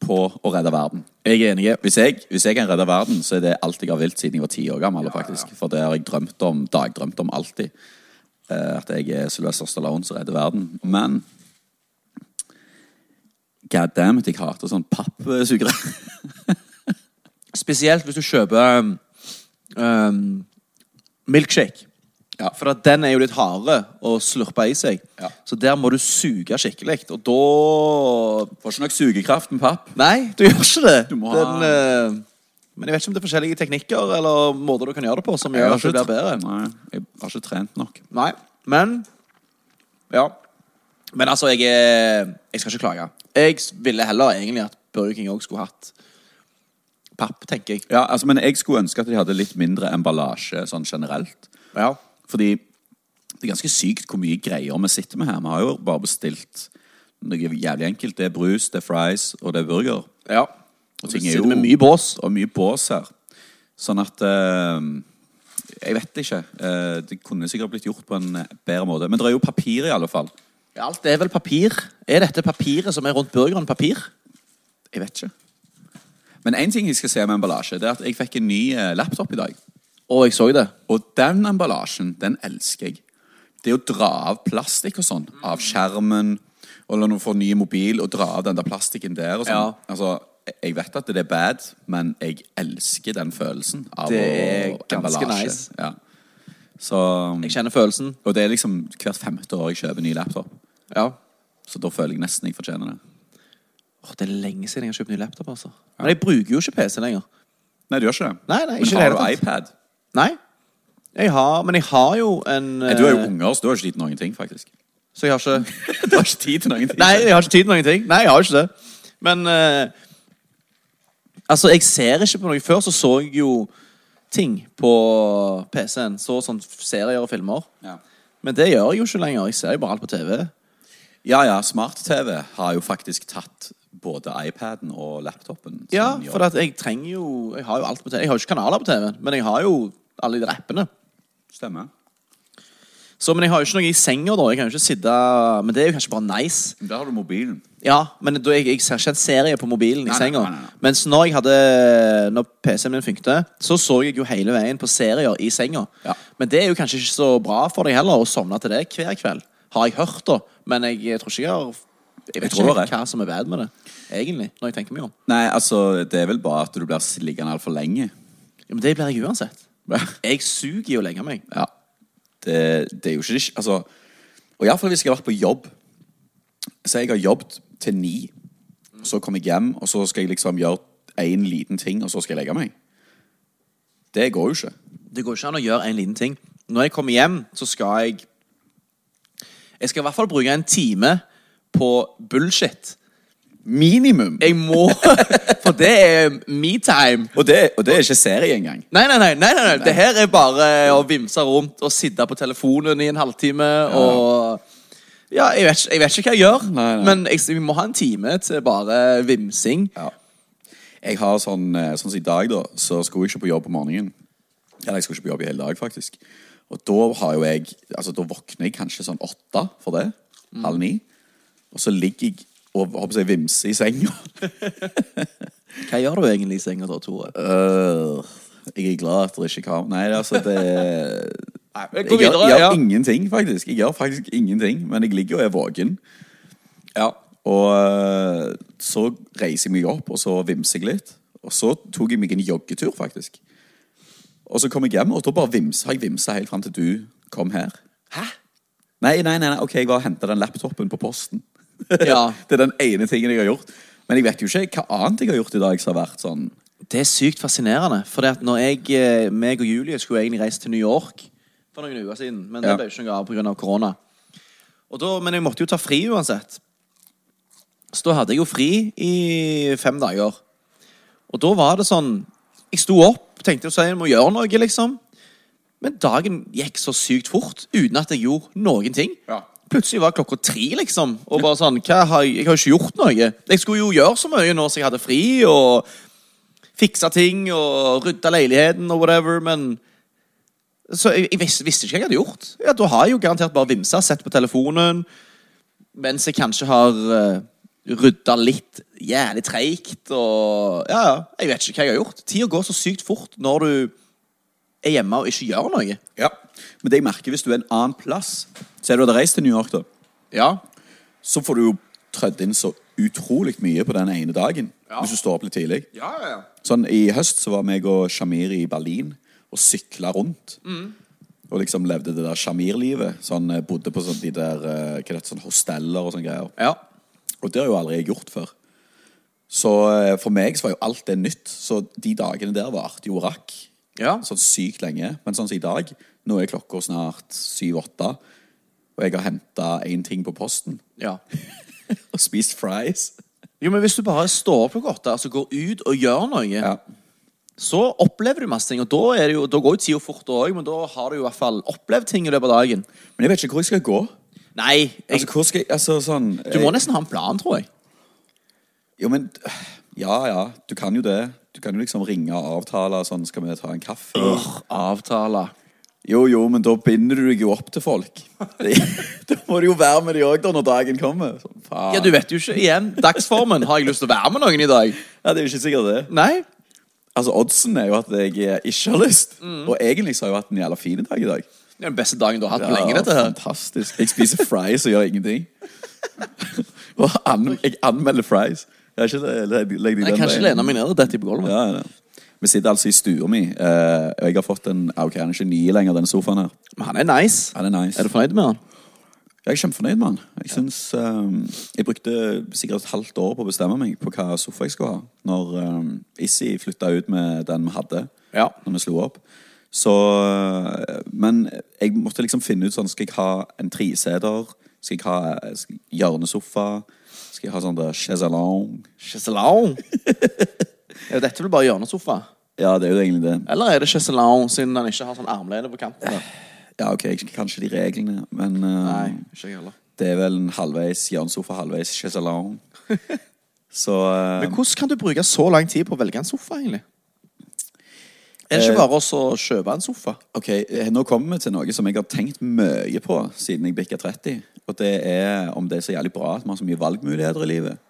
Speaker 2: på å redde verden.
Speaker 4: Jeg er enig.
Speaker 2: Hvis jeg, hvis jeg kan redde verden, så er det alt jeg har vilt siden jeg var ti år gammel. faktisk. For det har jeg drømt om, dagdrømt om alltid. Eh, At jeg er Sylvester Stallone som redder verden. Men God damn it, jeg hater sånn pappsugere.
Speaker 4: Spesielt hvis du kjøper um, um, milkshake.
Speaker 2: Ja.
Speaker 4: For at den er jo litt harde å slurpe i seg.
Speaker 2: Ja.
Speaker 4: Så der må du suge skikkelig. Og da
Speaker 2: Får ikke nok sugekraft med papp.
Speaker 4: Nei, du gjør ikke det.
Speaker 2: Du må
Speaker 4: den,
Speaker 2: ha-
Speaker 4: eh, men jeg vet ikke om det er forskjellige teknikker eller måter du kan gjøre det på som
Speaker 2: Jeg
Speaker 4: gjør
Speaker 2: har
Speaker 4: at det
Speaker 2: ikke,
Speaker 4: blir bedre.
Speaker 2: Nei, jeg har ikke trent nok.
Speaker 4: Nei, men Ja. Men altså, jeg, er, jeg skal ikke klage. Jeg s- ville heller egentlig at Burger King òg skulle hatt papp, tenker jeg.
Speaker 2: Ja, altså, Men jeg skulle ønske at de hadde litt mindre emballasje sånn generelt.
Speaker 4: Ja.
Speaker 2: Fordi det er ganske sykt hvor mye greier vi sitter med her. Vi har jo bare bestilt noe jævlig enkelt. Det er brus, det er fries og det er burger.
Speaker 4: ja.
Speaker 2: Og
Speaker 4: Du sitter med mye bås.
Speaker 2: og mye bås her. Sånn at eh, Jeg vet ikke. Eh, det kunne sikkert blitt gjort på en bedre måte. Men det er jo papir, i alle fall.
Speaker 4: Alt er vel papir. Er dette papiret som er rundt burgeren, papir?
Speaker 2: Jeg vet ikke. Men én ting jeg skal si om emballasje, det er at jeg fikk en ny eh, laptop i dag.
Speaker 4: Å, jeg så det.
Speaker 2: Og den emballasjen, den elsker jeg. Det å dra av plastikk og sånn, av skjermen, eller når du får ny mobil, og dra av den der plastikken der og sånn.
Speaker 4: Ja.
Speaker 2: Altså, jeg vet at det er bad, men jeg elsker den følelsen av
Speaker 4: Det er
Speaker 2: å-
Speaker 4: ganske
Speaker 2: emballasje.
Speaker 4: nice.
Speaker 2: Ja. Så,
Speaker 4: Jeg kjenner følelsen.
Speaker 2: og det er liksom hvert femte år jeg kjøper ny laptop.
Speaker 4: Ja.
Speaker 2: Så da føler jeg nesten jeg fortjener det.
Speaker 4: Åh, det er lenge siden jeg har kjøpt ny laptop. altså. Men jeg bruker jo ikke PC lenger.
Speaker 2: Nei, du gjør ikke det.
Speaker 4: Nei, nei, ikke
Speaker 2: men
Speaker 4: i det
Speaker 2: har du
Speaker 4: hele tatt.
Speaker 2: iPad?
Speaker 4: Nei. Jeg har, men jeg har jo en
Speaker 2: Nei, du er jo
Speaker 4: eh,
Speaker 2: unger, så du har ikke tid til noen ting, faktisk. *laughs*
Speaker 4: Så jeg har ikke
Speaker 2: Du har *laughs* ikke tid til noen ting.
Speaker 4: Nei, jeg har ikke tid til noen ting. Nei, jeg har ikke det. Men eh, Altså, jeg ser ikke på noe. Før så så jeg jo ting på PC-en. Så sånn serier og filmer.
Speaker 2: Ja.
Speaker 4: Men det gjør jeg jo ikke lenger. Jeg ser jo bare alt på TV.
Speaker 2: Ja, ja, smart-TV har jo faktisk tatt både iPaden og laptopen. som
Speaker 4: Ja,
Speaker 2: jobb.
Speaker 4: for at jeg trenger jo Jeg har jo alt på TV. Jeg har jo ikke kanaler på TV, men jeg har jo alle de rappene.
Speaker 2: Stemmer.
Speaker 4: Så, men jeg har jo ikke noe i senga, da. Jeg kan jo ikke sitte Men det er jo kanskje bare nice.
Speaker 2: Men Der har du mobilen.
Speaker 4: Ja, men da, jeg, jeg ser ikke en serie på mobilen i
Speaker 2: Nei, nei,
Speaker 4: senga.
Speaker 2: nei, nei, nei.
Speaker 4: Mens når jeg hadde Når PC-en min funkte, så så jeg jo hele veien på serier i senga.
Speaker 2: Ja.
Speaker 4: Men det er jo kanskje ikke så bra for deg heller å sovne til det hver kveld. Har jeg hørt, da. Men jeg, tror ikke jeg har Jeg
Speaker 2: Jeg
Speaker 4: vet
Speaker 2: tror
Speaker 4: ikke
Speaker 2: det er.
Speaker 4: hva som er bad med det, egentlig. Når jeg tenker meg om.
Speaker 2: Nei, altså, det er vel bare at du blir liggende altfor lenge.
Speaker 4: Ja, men det blir jeg uansett. *laughs* Jeg suger i å legge meg.
Speaker 2: Ja. Det, det er jo ikke Altså, og iallfall hvis jeg har vært på jobb. Så jeg har jobbet til ni. Så kommer jeg hjem, og så skal jeg liksom gjøre én liten ting, og så skal jeg legge meg. Det går jo ikke.
Speaker 4: Det går ikke an å gjøre en liten ting. Når jeg kommer hjem, så skal jeg Jeg skal i hvert fall bruke en time på bullshit.
Speaker 2: Minimum.
Speaker 4: Jeg må *laughs* For det er me time.
Speaker 2: Og det, og det er ikke serie engang.
Speaker 4: Nei, nei, nei. nei, nei, nei. Det her er bare å vimse rundt og sitte på telefonen i en halvtime og Ja, jeg vet, ikke- jeg vet ikke hva jeg gjør,
Speaker 2: Nei, nei.
Speaker 4: men jeg, vi må ha en time til bare vimsing.
Speaker 2: Ja. Jeg har sånn, eh, sånn som i dag da, så skulle jeg ikke på jobb på morgenen. Eller jeg skulle ikke på jobb i hele dag, faktisk. Og da har jo jeg, altså da våkner jeg kanskje sånn åtte for det, halv ni. Og så ligger jeg og håper jeg vimser i senga.
Speaker 4: Hva gjør du egentlig i senga da, Tore?
Speaker 2: Øh, jeg er glad at det ikke er kamera. Nei, det er altså det...
Speaker 4: men gå
Speaker 2: jeg gjør,
Speaker 4: videre,
Speaker 2: jeg gjør
Speaker 4: ja.
Speaker 2: ingenting, faktisk. Jeg gjør faktisk ingenting, men jeg ligger og er våken.
Speaker 4: Ja.
Speaker 2: Og øh, så reiser jeg meg opp, og så vimser jeg litt. Og så tok jeg meg en joggetur, faktisk. Og så kom jeg hjem, og da bare vimsa jeg vimsa helt fram til du kom her.
Speaker 4: Hæ?
Speaker 2: Nei, nei, nei, nei. ok, jeg var og henta den laptopen på posten.
Speaker 4: Ja.
Speaker 2: *laughs* det er den ene tingen jeg har gjort. Men jeg vet jo ikke hva annet jeg har gjort i dag som har vært sånn.
Speaker 4: Det er sykt fascinerende. For det at når jeg, eh, meg og Julie skulle egentlig reise til New York for noen uker siden, men
Speaker 2: Ja.
Speaker 4: det ble ikke noe av pga. korona. Og da, men jeg måtte jo ta fri uansett. Så da hadde jeg jo fri i fem dager. Og da var det sånn Jeg sto opp, tenkte å si jeg må gjøre noe, liksom. Men dagen gikk så sykt fort uten at jeg gjorde noen ting.
Speaker 2: Ja.
Speaker 4: Plutselig var klokka tre, liksom. Og bare sånn hva har Jeg jeg har jo ikke gjort noe. Jeg skulle jo gjøre så mye nå som jeg hadde fri, og fiksa ting og rydda leiligheten og whatever, men Så jeg, jeg visste, visste ikke hva jeg hadde gjort. Ja, Da har jeg jo garantert bare vimsa, sett på telefonen, mens jeg kanskje har uh, rydda litt jævlig treigt og Ja, ja. Jeg vet ikke hva jeg har gjort. Tida går så sykt fort når du er hjemme og ikke gjør noe.
Speaker 2: Ja. Men det jeg merker, hvis du er en annen plass Se, du hadde reist til New York, da.
Speaker 4: Ja.
Speaker 2: Så får du jo trødd inn så utrolig mye på den ene dagen.
Speaker 4: Ja.
Speaker 2: Hvis du står opp litt tidlig.
Speaker 4: Ja, ja, ja.
Speaker 2: Sånn, I høst så var meg og Shamir i Berlin og sykla rundt. Og liksom levde det der Shamir-livet. Sånn, eh, bodde på sånn, de der eh, hva det heter, sånn hosteller og sånne greier.
Speaker 4: Ja.
Speaker 2: Og det har jo aldri jeg gjort før. Så eh, for meg så var jo alt det nytt. Så de dagene der varte jo rakk
Speaker 4: Ja.
Speaker 2: sånn sykt lenge. Men sånn som i dag, nå er klokka snart syv-åtte, og jeg har henta én ting på posten
Speaker 4: ja.
Speaker 2: og spist fries.
Speaker 4: Jo, men hvis du bare står opp klokka åtte, altså går ut og gjør noe,
Speaker 2: Ja.
Speaker 4: så opplever du masse ting. Og da, er det jo, da går jo tida fort òg, men da har du jo i hvert fall opplevd ting i løpet av dagen.
Speaker 2: Men jeg vet ikke hvor jeg skal gå.
Speaker 4: Nei, jeg,
Speaker 2: Altså, hvor skal jeg, altså sånn
Speaker 4: du må
Speaker 2: jeg-
Speaker 4: nesten ha en plan, tror jeg.
Speaker 2: Jo, men Ja, ja. Du kan jo det. Du kan jo liksom ringe og avtale sånn Skal vi ta en kaffe?
Speaker 4: Avtale.
Speaker 2: Jo, jo, men da binder du deg jo opp til folk. *laughs* Det, da må du jo være med de òg når dagen kommer. Sånn, faen.
Speaker 4: Ja, du vet jo ikke igjen. Dagsformen. Har jeg lyst til å være med noen i dag?
Speaker 2: Ja, det er jo ikke sikkert det.
Speaker 4: Nei.
Speaker 2: Altså, Oddsen er jo at jeg ikke har lyst.
Speaker 4: Mm.
Speaker 2: Og egentlig så har jeg jo hatt en jævla fin dag i dag.
Speaker 4: Det er den beste dagen du har hatt på
Speaker 2: Ja,
Speaker 4: lenge, dette her.
Speaker 2: Fantastisk. Jeg spiser fries og gjør ingenting. *laughs* og an, jeg anmelder fries. Jeg kan ikke legge legg
Speaker 4: Jeg kan ikke lene meg ned og dette på gulvet.
Speaker 2: Ja, ja. Vi sitter altså i stua mi, eh, og jeg har fått en ah, Ok, han er ikke ny lenger, denne sofaen her.
Speaker 4: Men han er nice.
Speaker 2: Han er nice.
Speaker 4: Er du fornøyd med han?
Speaker 2: Jeg er kjempefornøyd med han. Jeg synes, eh, jeg brukte sikkert et halvt år på å bestemme meg på hva sofa jeg skulle ha. Når eh, Issi flytta ut med den vi hadde
Speaker 4: Ja.
Speaker 2: når vi slo opp. Så eh, Men jeg måtte liksom finne ut sånn Skal jeg ha en treseter? Skal jeg ha eh, skal- hjørnesofa? Skal jeg ha sånn der chaiselong?
Speaker 4: Chaiselong. *laughs* Er dette vel bare hjørnesofa?
Speaker 2: Ja, det er jo egentlig det.
Speaker 4: Eller er det chaiselong siden han ikke har sånn armlene på kanten? der?
Speaker 2: Ja, ok, jeg kan ikke de reglene, men eh,
Speaker 4: Nei, ikke jeg heller.
Speaker 2: Det er vel en halvveis hjørnesofa, halvveis
Speaker 4: *laughs*
Speaker 2: chaiselong. Så eh,
Speaker 4: Men hvordan kan du bruke så lang tid på å velge en sofa, egentlig? Er det ikke bare også å kjøpe en sofa?
Speaker 2: Ok, eh, Nå kommer vi til noe som jeg har tenkt mye på siden jeg bikka 30. Og det er om det er så jævlig bra at vi har så mye valgmuligheter i livet.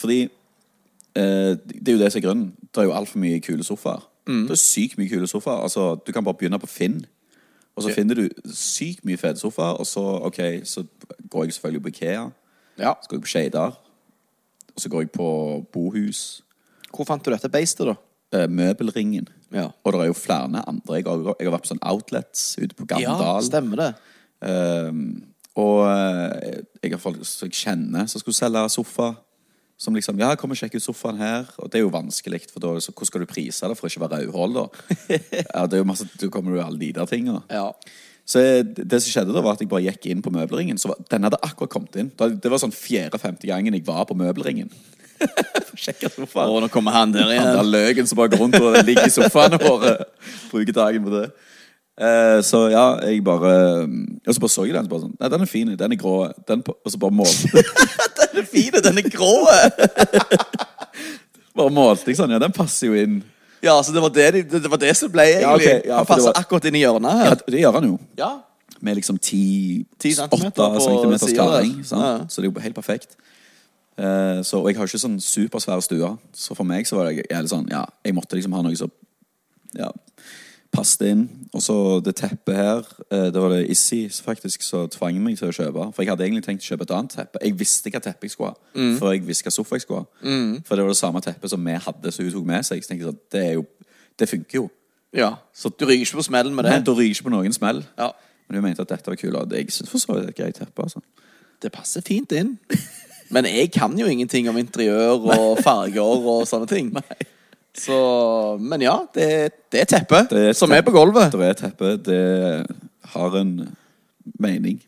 Speaker 2: Fordi eh, det er jo det som er grunnen. Det er jo altfor mye kule sofaer. Det er sykt mye kule sofaer. Altså, du kan bare begynne på Finn. Og så finner du sykt mye fete sofaer, og så ok, så går jeg selvfølgelig på Ikea.
Speaker 4: Ja.
Speaker 2: Så går jeg på Skeidar. Og så går jeg på Bohus.
Speaker 4: Hvor fant du dette beistet, da?
Speaker 2: eh, Møbelringen.
Speaker 4: Ja.
Speaker 2: Og det er jo flere andre. Jeg har, jeg har vært på sånn outlets ute på Gamdal.
Speaker 4: stemmer det.
Speaker 2: Ehm, og eh, jeg har folk som jeg kjenner som skulle selge sofa. Som liksom Ja, kom og sjekk ut sofaen her. Og det er jo vanskelig, for da så, hvordan skal du prise det for å ikke være rødhål, da?
Speaker 4: *laughs*
Speaker 2: ja, det er jo masse, Da kommer du jo alle de der tinga.
Speaker 4: Ja.
Speaker 2: Så eh, det som skjedde da, var at jeg bare gikk inn på møbelringen. Så var, den hadde akkurat kommet inn. Da- Det var sånn fjerde-femte gangen jeg var på møbelringen. Sjekka sofaen.
Speaker 4: nå kommer han der
Speaker 2: Han der løken som bare går rundt og ligger i sofaen vår. Bruker dagen på det. Eh, så ja, jeg bare Og så bare så jeg den. Så bare sånn, Nei, den er fin. Den er grå. Den på, og så bare målte
Speaker 4: Den er fin, den er grå!
Speaker 2: *laughs* bare målte jeg sånn. Ja, den passer jo inn.
Speaker 4: Ja, så det var det, de- det, var det som ble, egentlig.
Speaker 2: Ja, ok, ja, for
Speaker 4: han
Speaker 2: det
Speaker 4: passer
Speaker 2: var-
Speaker 4: akkurat inn i hjørnet
Speaker 2: Ja,
Speaker 4: her.
Speaker 2: det gjør han jo.
Speaker 4: Ja.
Speaker 2: Med liksom 10
Speaker 4: 10
Speaker 2: centimeter
Speaker 4: centimeter på
Speaker 2: cm
Speaker 4: siden der.
Speaker 2: skarring. sant?
Speaker 4: Ja, ja.
Speaker 2: Så det er jo helt perfekt. Eh, så, og jeg har jo ikke sånn supersvær stue, så for meg så var det jævlig sånn Ja, jeg måtte liksom ha noe som ja, passet inn. Og så det teppet her eh, Det var det Issi som faktisk så tvang meg til å kjøpe. For jeg hadde egentlig tenkt å kjøpe et annet teppe. Jeg visste hva teppe jeg skulle ha.
Speaker 4: Mm.
Speaker 2: Før jeg visste hva sofa jeg skulle ha. For det var det samme teppet som vi hadde, som hun tok med seg. Så tenkte jeg sånn, det er jo Det funker jo.
Speaker 4: ja. Så du ryker ikke på smellen med det?
Speaker 2: Men da ryker jeg ikke på noen smell.
Speaker 4: Ja.
Speaker 2: Men hun mente at dette var kult. Og det- jeg synes for så vidt det er et greit teppe. Altså.
Speaker 4: Det passer fint inn. Men jeg kan jo ingenting om interiør og farger og sånne ting. Så, men ja, det, det er teppet
Speaker 2: Det er et
Speaker 4: som
Speaker 2: teppe.
Speaker 4: er på gulvet.
Speaker 2: Det er et teppe. Det har en mening.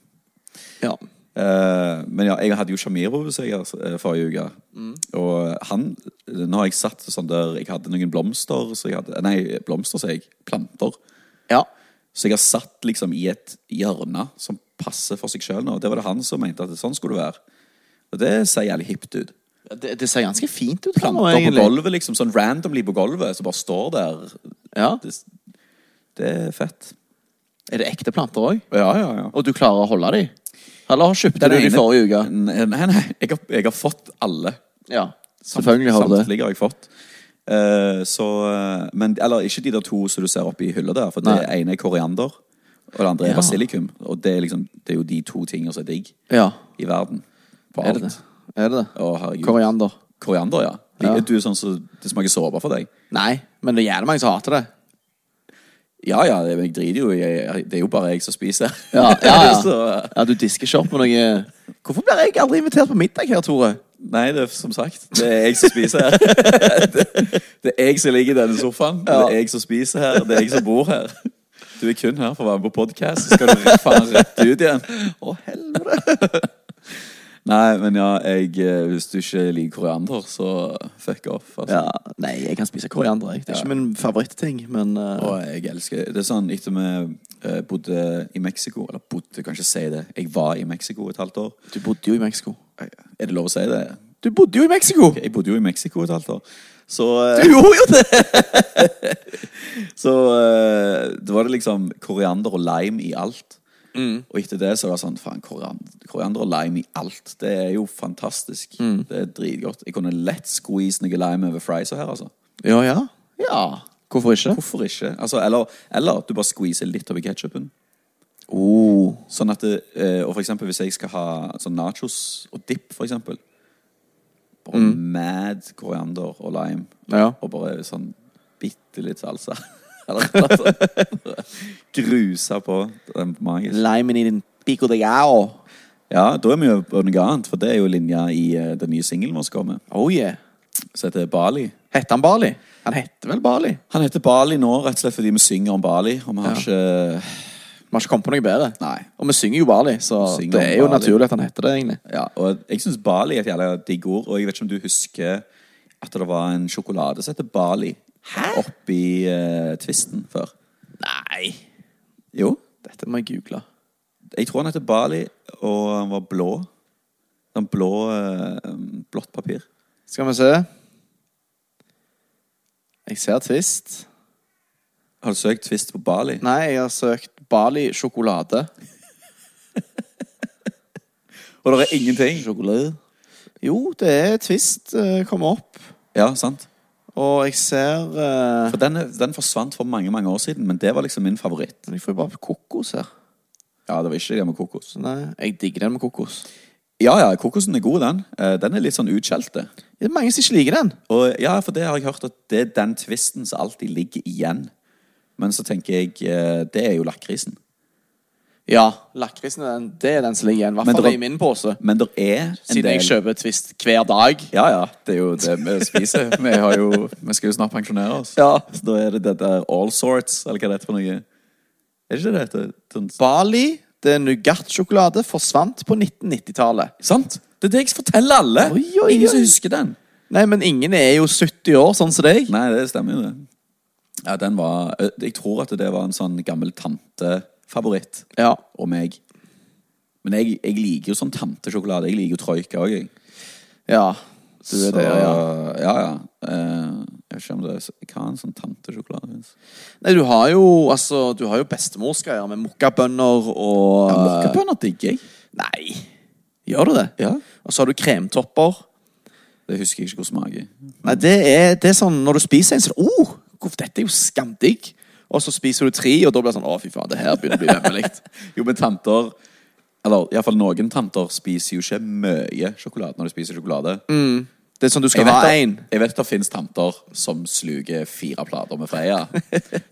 Speaker 4: Ja.
Speaker 2: Eh, men ja, jeg hadde jo Shamir på besøk her eh, forrige uke.
Speaker 4: Mm.
Speaker 2: Og han Nå har jeg satt sånn der Jeg hadde noen blomster så jeg hadde, Nei, blomster, sier jeg. Planter.
Speaker 4: Ja.
Speaker 2: Så jeg har satt liksom i et hjørne som passer for seg sjøl nå. Det var det han som mente at sånn skulle det være. Og det ser jævlig hipt ut.
Speaker 4: Det, det ser ganske fint ut.
Speaker 2: Planter
Speaker 4: fremover,
Speaker 2: på
Speaker 4: egentlig.
Speaker 2: gulvet, liksom. Sånn randomly på gulvet, som bare står der.
Speaker 4: Ja.
Speaker 2: Det, det er fett.
Speaker 4: Er det ekte planter òg?
Speaker 2: Ja, ja, ja.
Speaker 4: Og du klarer å holde dem? Eller har kjøpte du dem i forrige uke?
Speaker 2: Nei, nei. Jeg har, jeg har fått alle.
Speaker 4: Ja, selvfølgelig har du det.
Speaker 2: Samtlige har jeg fått. Eh, så, eh, men, eller ikke de der to som du ser oppe i hylla der. For det
Speaker 4: Nei.
Speaker 2: ene er koriander, og det andre er
Speaker 4: Ja.
Speaker 2: basilikum. Og det er, liksom, det er jo de to tingene som er digg
Speaker 4: Ja,
Speaker 2: i verden. På
Speaker 4: er
Speaker 2: alt.
Speaker 4: det det? Er det det?
Speaker 2: Å, herregud.
Speaker 4: Koriander.
Speaker 2: Koriander, ja. De,
Speaker 4: Ja.
Speaker 2: Du er sånn som det smaker såpe for deg.
Speaker 4: Nei, men det er jævlig mange som hater det.
Speaker 2: Ja ja, det, jeg driter jo i Det er jo bare jeg som spiser.
Speaker 4: Ja, ja,
Speaker 2: *laughs*
Speaker 4: ja.
Speaker 2: så, eh,
Speaker 4: ja Du disker ikke opp med noe eh. Hvorfor blir jeg aldri invitert på middag her, Tore?
Speaker 2: Nei, det er som sagt Det er jeg som spiser
Speaker 4: *laughs*
Speaker 2: her. Det, det er jeg som ligger i denne sofaen. Det er jeg som spiser her. Det er jeg som bor her. Du er kun her for å være med på podkast, så skal du faen rett ut igjen. Å, helvete. *laughs* Nei, men ja, jeg eh, Hvis du ikke liker koriander, så fuck off. Altså.
Speaker 4: Ja, Nei, jeg kan spise koriander. jeg. Det er ikke min favorittting, men eh,
Speaker 2: Og jeg elsker Det er sånn etter vi eh, bodde i Mexico Eller bodde, kan ikke si det. Jeg var i Mexico et halvt år.
Speaker 4: Du bodde jo i Mexico.
Speaker 2: Er det lov å si det?
Speaker 4: Du bodde jo i Mexico!
Speaker 2: Jeg bodde jo i Mexico et halvt år. Så eh,
Speaker 4: Du gjorde *laughs* jo det!
Speaker 2: Så eh, det var det liksom koriander og lime i alt. Og etter det så var det sånn Faen, koriander, koriander og lime i alt. Det er jo fantastisk. Det er dritgodt. Jeg kunne lett squeeze noe lime over friesa her, altså.
Speaker 4: Ja, ja. Ja, Hvorfor ikke?
Speaker 2: Hvorfor ikke? Altså, eller, eller at du bare squeezer litt over ketsjupen.
Speaker 4: Oh.
Speaker 2: Sånn at det, eh, Og for eksempel hvis jeg skal ha sånn nachos og dip, for eksempel. Bare mad koriander og lime.
Speaker 4: Ja.
Speaker 2: Og bare sånn bitte litt salsa. *laughs* Eller noe sånt. Grusa på. Det er magisk.
Speaker 4: Limen i din pico de gao.
Speaker 2: Ja, da er vi jo på noe annet, for det er jo linja i eh, den nye singelen vår som kommer,
Speaker 4: Oh yeah.
Speaker 2: som heter Bali.
Speaker 4: Hette han Bali? Han hette vel Bali?
Speaker 2: Han heter Bali nå, rett og slett fordi vi synger om Bali, og vi har
Speaker 4: Ja.
Speaker 2: ikke
Speaker 4: Vi har ikke kommet på noe bedre.
Speaker 2: Nei.
Speaker 4: Og vi synger jo Bali, så
Speaker 2: Synger
Speaker 4: det
Speaker 2: om
Speaker 4: er jo
Speaker 2: Bali.
Speaker 4: naturlig at han heter det, egentlig.
Speaker 2: Ja, og jeg syns Bali er et jævla digg ord, og jeg vet ikke om du husker at det var en sjokolade som heter Bali oppi eh, Twisten før.
Speaker 4: Nei.
Speaker 2: Jo.
Speaker 4: Dette må jeg google.
Speaker 2: Jeg tror han heter Bali, og han var blå. Sånn blå eh, blått papir.
Speaker 4: Skal vi se. Jeg ser Twist.
Speaker 2: Har du søkt Twist på Bali?
Speaker 4: Nei, jeg har søkt Bali *laughs* sjokolade.
Speaker 2: Og det er ingenting.
Speaker 4: Sjokolade. Jo, det er Twist eh, kom opp.
Speaker 2: Ja, sant?
Speaker 4: Og jeg ser eh,
Speaker 2: For den, den forsvant for mange mange år siden, men det var liksom min favoritt.
Speaker 4: Men jeg får jo bare kokos her.
Speaker 2: Ja, det var ikke det med kokos.
Speaker 4: Så nei, jeg digger den med kokos.
Speaker 2: Ja, ja, kokosen er god, den. Eh, Den er litt sånn utskjelte.
Speaker 4: Det er mange som ikke liker den.
Speaker 2: Og ja, for det har jeg hørt at det er den tvisten som alltid ligger igjen. Men så tenker jeg eh, det er jo lakkrisen.
Speaker 4: Ja, lakrisen er den, det er den som ligger igjen. I hvert
Speaker 2: Men
Speaker 4: fall
Speaker 2: det var-
Speaker 4: i min pose.
Speaker 2: Men det er en
Speaker 4: Siden
Speaker 2: del
Speaker 4: jeg kjøper Twist hver dag.
Speaker 2: Ja, ja, det er jo det vi *laughs* spiser. Vi, har jo, vi skal jo snart pensjonere oss.
Speaker 4: Ja.
Speaker 2: Så da er det det der all sorts, eller hva det heter for noe. Er det ikke det det heter? Sånn-
Speaker 4: Bali, det er nougatsjokolade, forsvant på 1990-tallet.
Speaker 2: Sant? Det er det jeg forteller alle.
Speaker 4: Oi, oi,
Speaker 2: Ingen som
Speaker 4: oi.
Speaker 2: husker den.
Speaker 4: Nei, men ingen er jo 70 år, sånn som deg.
Speaker 2: Nei, det stemmer jo det. Ja, den var ø, Jeg tror at det var en sånn gammel tantefavoritt.
Speaker 4: Ja.
Speaker 2: Og meg. Men jeg, jeg liker jo sånn tantesjokolade. Jeg liker jo troika òg, jeg.
Speaker 4: Ja, du er
Speaker 2: Så-
Speaker 4: det, ja.
Speaker 2: ja, ja. Eh, jeg vet ikke om det er så- Hva er en sånn tantesjokolade fins?
Speaker 4: Nei, du har jo, altså, du har jo bestemorsgreier med mokkabønner og eh,
Speaker 2: Mokkabønner digger jeg.
Speaker 4: Nei. Gjør du det?
Speaker 2: Ja.
Speaker 4: Og så har du kremtopper.
Speaker 2: Det husker jeg ikke hvor smaker.
Speaker 4: Nei, det er, det er sånn når du spiser en, så er det oh, hvorfor- dette er jo skamdigg. Og så spiser du tre, og da blir det sånn Å, fy faen, det her begynner å bli vemmelig.
Speaker 2: Jo, men tanter Eller iallfall noen tanter spiser jo ikke mye sjokolade når de spiser sjokolade.
Speaker 4: Det er sånn du
Speaker 2: Jeg
Speaker 4: skal
Speaker 2: vet,
Speaker 4: ha én.
Speaker 2: at, jeg vet at det finnes tanter som sluker fire plater med Freia.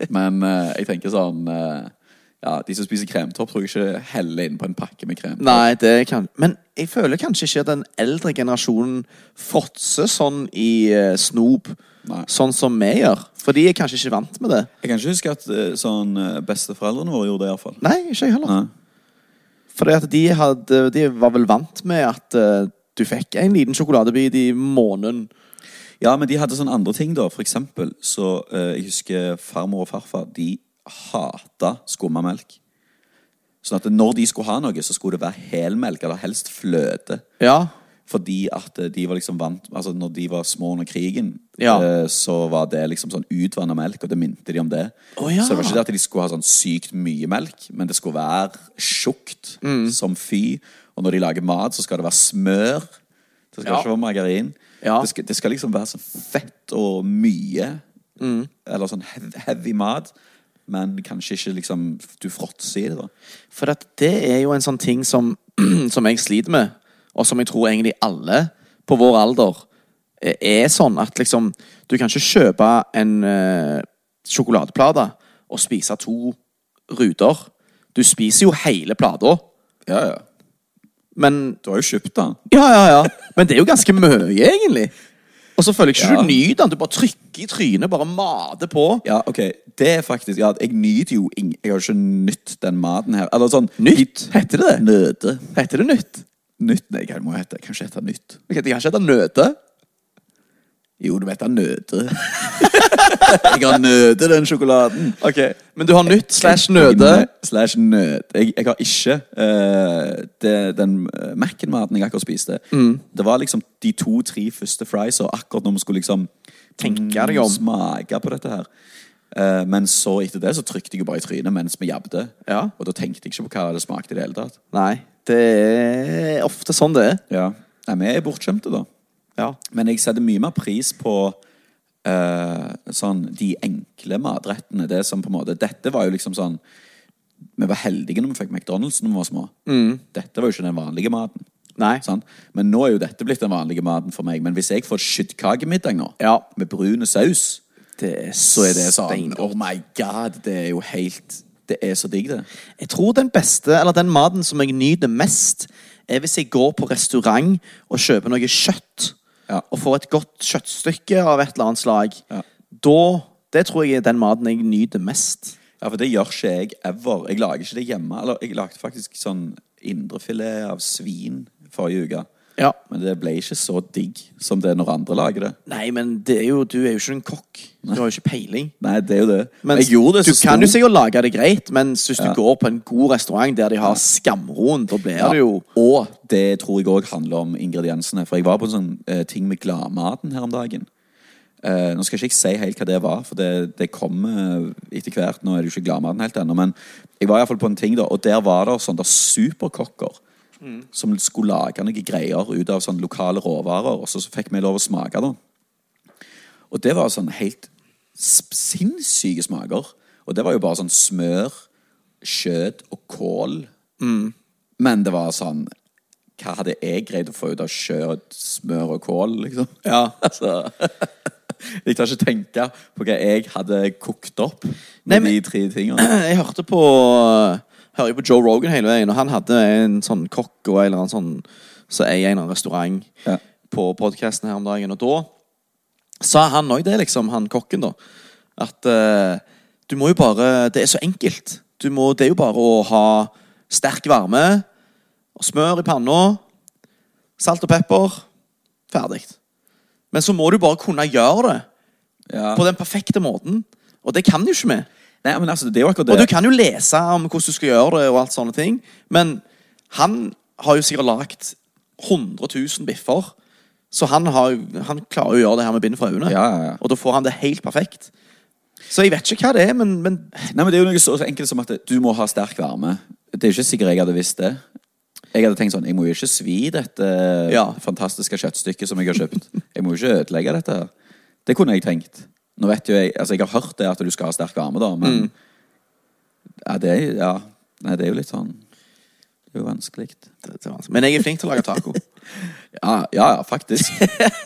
Speaker 2: Men eh, jeg tenker sånn eh, ja, De som spiser kremtopp, tror jeg ikke heller inn på en pakke med krem.
Speaker 4: Nei, det kan Men jeg føler kanskje ikke at den eldre generasjonen fråtser sånn i eh, snop.
Speaker 2: Nei.
Speaker 4: Sånn som vi gjør. For de er kanskje ikke vant med det.
Speaker 2: Jeg kan ikke huske at eh, sånn eh, besteforeldrene våre gjorde det. i hvert fall
Speaker 4: Nei, ikke jeg heller.
Speaker 2: Nei.
Speaker 4: Fordi at de, hadde, de var vel vant med at eh, du fikk en liten sjokoladebit i måneden.
Speaker 2: Ja, men de hadde sånne andre ting, da. For eksempel så eh, Jeg husker farmor og farfar. De hata skummamelk. Sånn at når de skulle ha noe, så skulle det være helmelk, eller helst fløte.
Speaker 4: Ja.
Speaker 2: Fordi at eh, de var liksom vant Altså når de var små under krigen,
Speaker 4: Ja.
Speaker 2: eh, så var det liksom sånn utvanna melk, og det minte de om det.
Speaker 4: Å, ja.
Speaker 2: Så det var ikke det at de skulle ha sånn sykt mye melk, men det skulle være tjukt
Speaker 4: Mm.
Speaker 2: som fy. Og når de lager mat, så skal det være smør. Det skal
Speaker 4: Ja.
Speaker 2: ikke være margarin.
Speaker 4: Ja.
Speaker 2: Det, skal, det skal liksom være så fett og mye.
Speaker 4: Mm.
Speaker 2: Eller sånn hev- heavy mat. Men kanskje ikke liksom Du fråtser i det, da.
Speaker 4: For at det er jo en sånn ting som, *clears throat* som jeg sliter med, og som jeg tror egentlig alle på vår alder eh, er sånn at liksom Du kan ikke kjøpe en eh, sjokoladeplate og spise to ruter. Du spiser jo hele plata,
Speaker 2: Ja, ja.
Speaker 4: men
Speaker 2: Du har jo kjøpt den.
Speaker 4: Ja, ja, ja. Men det er jo ganske mye, egentlig. Og så føler jeg ikke
Speaker 2: Ja.
Speaker 4: du nyter den. Du bare trykker i trynet, bare mater på.
Speaker 2: Ja, ok. Det er faktisk Ja, jeg nyter jo ing... Jeg har jo ikke nytt den maten her. Eller sånn
Speaker 4: Nytt? Heter det det?
Speaker 2: Nøte.
Speaker 4: Heter det nytt?
Speaker 2: Nytt? Nei, hva må det hete? Kanskje hete nytt?
Speaker 4: Jeg kan ikke hete nøte.
Speaker 2: Jo, du vet det er nøte.
Speaker 4: *laughs*
Speaker 2: jeg har nøte den sjokoladen.
Speaker 4: Ok, Men du har nytt slash nøte.
Speaker 2: Slash nøt. Jeg, jeg har ikke eh, det, den eh, Mac-maten jeg akkurat spiste.
Speaker 4: Mm.
Speaker 2: Det var liksom de to-tre første fries, og akkurat når vi skulle liksom
Speaker 4: Tenke deg om.
Speaker 2: smake på dette her. Eh, men så etter det så trykte jeg jo bare i trynet mens vi jabbet.
Speaker 4: Ja.
Speaker 2: Og da tenkte jeg ikke på hva det smakte i det hele tatt.
Speaker 4: Nei, det er ofte sånn det er.
Speaker 2: Ja. Nei, vi er bortskjemte, da.
Speaker 4: Ja.
Speaker 2: Men jeg setter mye mer pris på eh, sånn, de enkle matrettene. Det som på en måte, dette var jo liksom sånn Vi var heldige når vi fikk McDonald's når vi var små. Dette var jo ikke den vanlige maten.
Speaker 4: Mm. Nei.
Speaker 2: Sant? Men nå er jo dette blitt den vanlige maten for meg. Men hvis jeg får skyttkakemiddag nå,
Speaker 4: Ja.
Speaker 2: med brune saus,
Speaker 4: Det er
Speaker 2: så er det sånn
Speaker 4: steingodt.
Speaker 2: Oh my god, det er jo helt Det er så digg, det.
Speaker 4: Jeg tror den beste, eller den maten som jeg nyter mest, er hvis jeg går på restaurant og kjøper noe kjøtt,
Speaker 2: Ja.
Speaker 4: og får et godt kjøttstykke av et eller annet slag.
Speaker 2: Ja.
Speaker 4: Da, det tror jeg er den maten jeg nyter mest.
Speaker 2: Ja, for det gjør ikke jeg ever. Jeg lager ikke det hjemme. Eller jeg lagde faktisk sånn indrefilet av svin forrige uke.
Speaker 4: Ja.
Speaker 2: Men det ble ikke så digg som det er når andre lager det.
Speaker 4: Nei, men det er jo, du er jo ikke en kokk. Du har jo ikke peiling.
Speaker 2: Nei, det er jo det.
Speaker 4: Men
Speaker 2: jeg gjorde det
Speaker 4: du
Speaker 2: så
Speaker 4: kan jo
Speaker 2: stor-
Speaker 4: sikkert lage det greit, men hvis du går på en god restaurant der de har skamroen, da blir
Speaker 2: Ja,
Speaker 4: det jo
Speaker 2: Og det tror jeg òg handler om ingrediensene. For jeg var på en sånn eh, ting med gladmaten her om dagen. Eh, nå skal ikke jeg si helt hva det var, for det, det kommer etter hvert. Nå er det jo ikke gladmaten helt ennå, men jeg var iallfall på en ting, da, og der var det sånne der superkokker.
Speaker 4: Mm.
Speaker 2: Som skulle lage noen greier ut av sånne lokale råvarer. Og så så fikk vi lov å smake, da. Og det var sånn helt s- sinnssyke smaker. Og det var jo bare sånn smør, kjøtt og kål. Men det var sånn Hva hadde jeg greid å få ut av kjøtt, smør og kål, liksom?
Speaker 4: Ja. *laughs*
Speaker 2: Altså Jeg klarer ikke å tenke på hva jeg hadde kokt opp med
Speaker 4: Nei, men-
Speaker 2: de tre tingene.
Speaker 4: Jeg hørte på eh, Hører jo på Joe Rogan hele veien, og han hadde en sånn kokk og en eller annen sånn Så eier en eller annen restaurant
Speaker 2: Ja.
Speaker 4: på podkasten her om dagen, og da sa han òg det, liksom, han kokken, da. At eh, du må jo bare Det er så enkelt. Du må, det er jo bare å ha sterk varme og smør i panna, salt og pepper. Ferdig. Men så må du bare kunne gjøre det
Speaker 2: Ja.
Speaker 4: på den perfekte måten. Og det kan du ikke vi.
Speaker 2: Nei, men altså, det er jo akkurat
Speaker 4: Og
Speaker 2: det.
Speaker 4: du kan jo lese om hvordan du skal gjøre det, og alt sånne ting. Men han har jo sikkert lagt 100 000 biffer. Så han, har, jo- han klarer jo å gjøre det her med bind for øynene.
Speaker 2: Ja, ja, ja.
Speaker 4: Og da får han det helt perfekt. Så jeg vet ikke hva det er, men, men
Speaker 2: Nei, men det er jo noe så så enkelt som at du må ha sterk varme. Det er jo ikke sikkert jeg hadde visst det. Jeg hadde tenkt sånn, jeg må jo ikke svi dette
Speaker 4: Ja.
Speaker 2: fantastiske kjøttstykket som jeg har kjøpt. Jeg må jo ikke ødelegge dette her. Det kunne jeg tenkt. Nå vet jo jeg, altså jeg har hørt det at du skal ha sterk varme da, men ja, det, er- ja. Nei, det er jo litt sånn, det er jo vanskelig.
Speaker 4: det, det er vanskelig. Men jeg er flink til å lage
Speaker 2: *laughs*
Speaker 4: taco.
Speaker 2: Ja, ja, ja faktisk.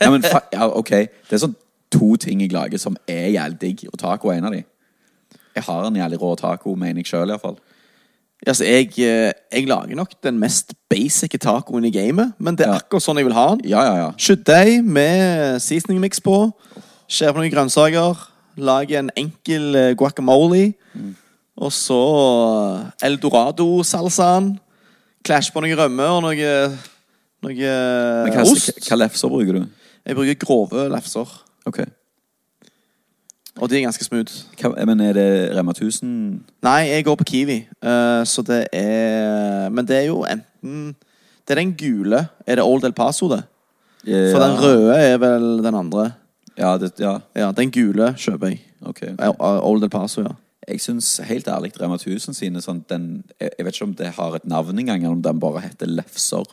Speaker 2: Ja, men fa ja, ok, det er sånn to ting jeg lager som er jævlig digg, og taco er en av de. Jeg har en jævlig rå taco, mener jeg selv i hvert fall.
Speaker 4: altså, jeg, eh, jeg lager nok den mest basic tacoen i gamet, men det er
Speaker 2: Ja.
Speaker 4: akkurat sånn jeg vil ha den.
Speaker 2: Ja, ja, ja.
Speaker 4: Skjøttdeig med seasoning mix på. Skjær på noen grønnsaker. Lag en enkel eh,
Speaker 2: Mm.
Speaker 4: guacamole. Og så eldorado-salsaen. eh, Clash på noe rømme og noe, noe
Speaker 2: Men hva,
Speaker 4: Eh, ost.
Speaker 2: hva lefser bruker du?
Speaker 4: Jeg bruker grove lefser,
Speaker 2: Ok.
Speaker 4: og de er ganske smooth.
Speaker 2: Hva, men er det Rema 1000?
Speaker 4: Nei, jeg går på Kiwi, eh, så det er Men det er jo enten Det er den gule. Er det Old El Paso, det? For den røde er vel den andre.
Speaker 2: Ja, det, ja.
Speaker 4: Ja, den gule kjøper jeg.
Speaker 2: ok.
Speaker 4: Eh, Old El Paso, ja.
Speaker 2: Jeg syns helt ærlig Rema 1000 sine sånn den, jeg, jeg vet ikke om det har et navn engang, eller om den bare heter
Speaker 4: *laughs*
Speaker 2: Lefser.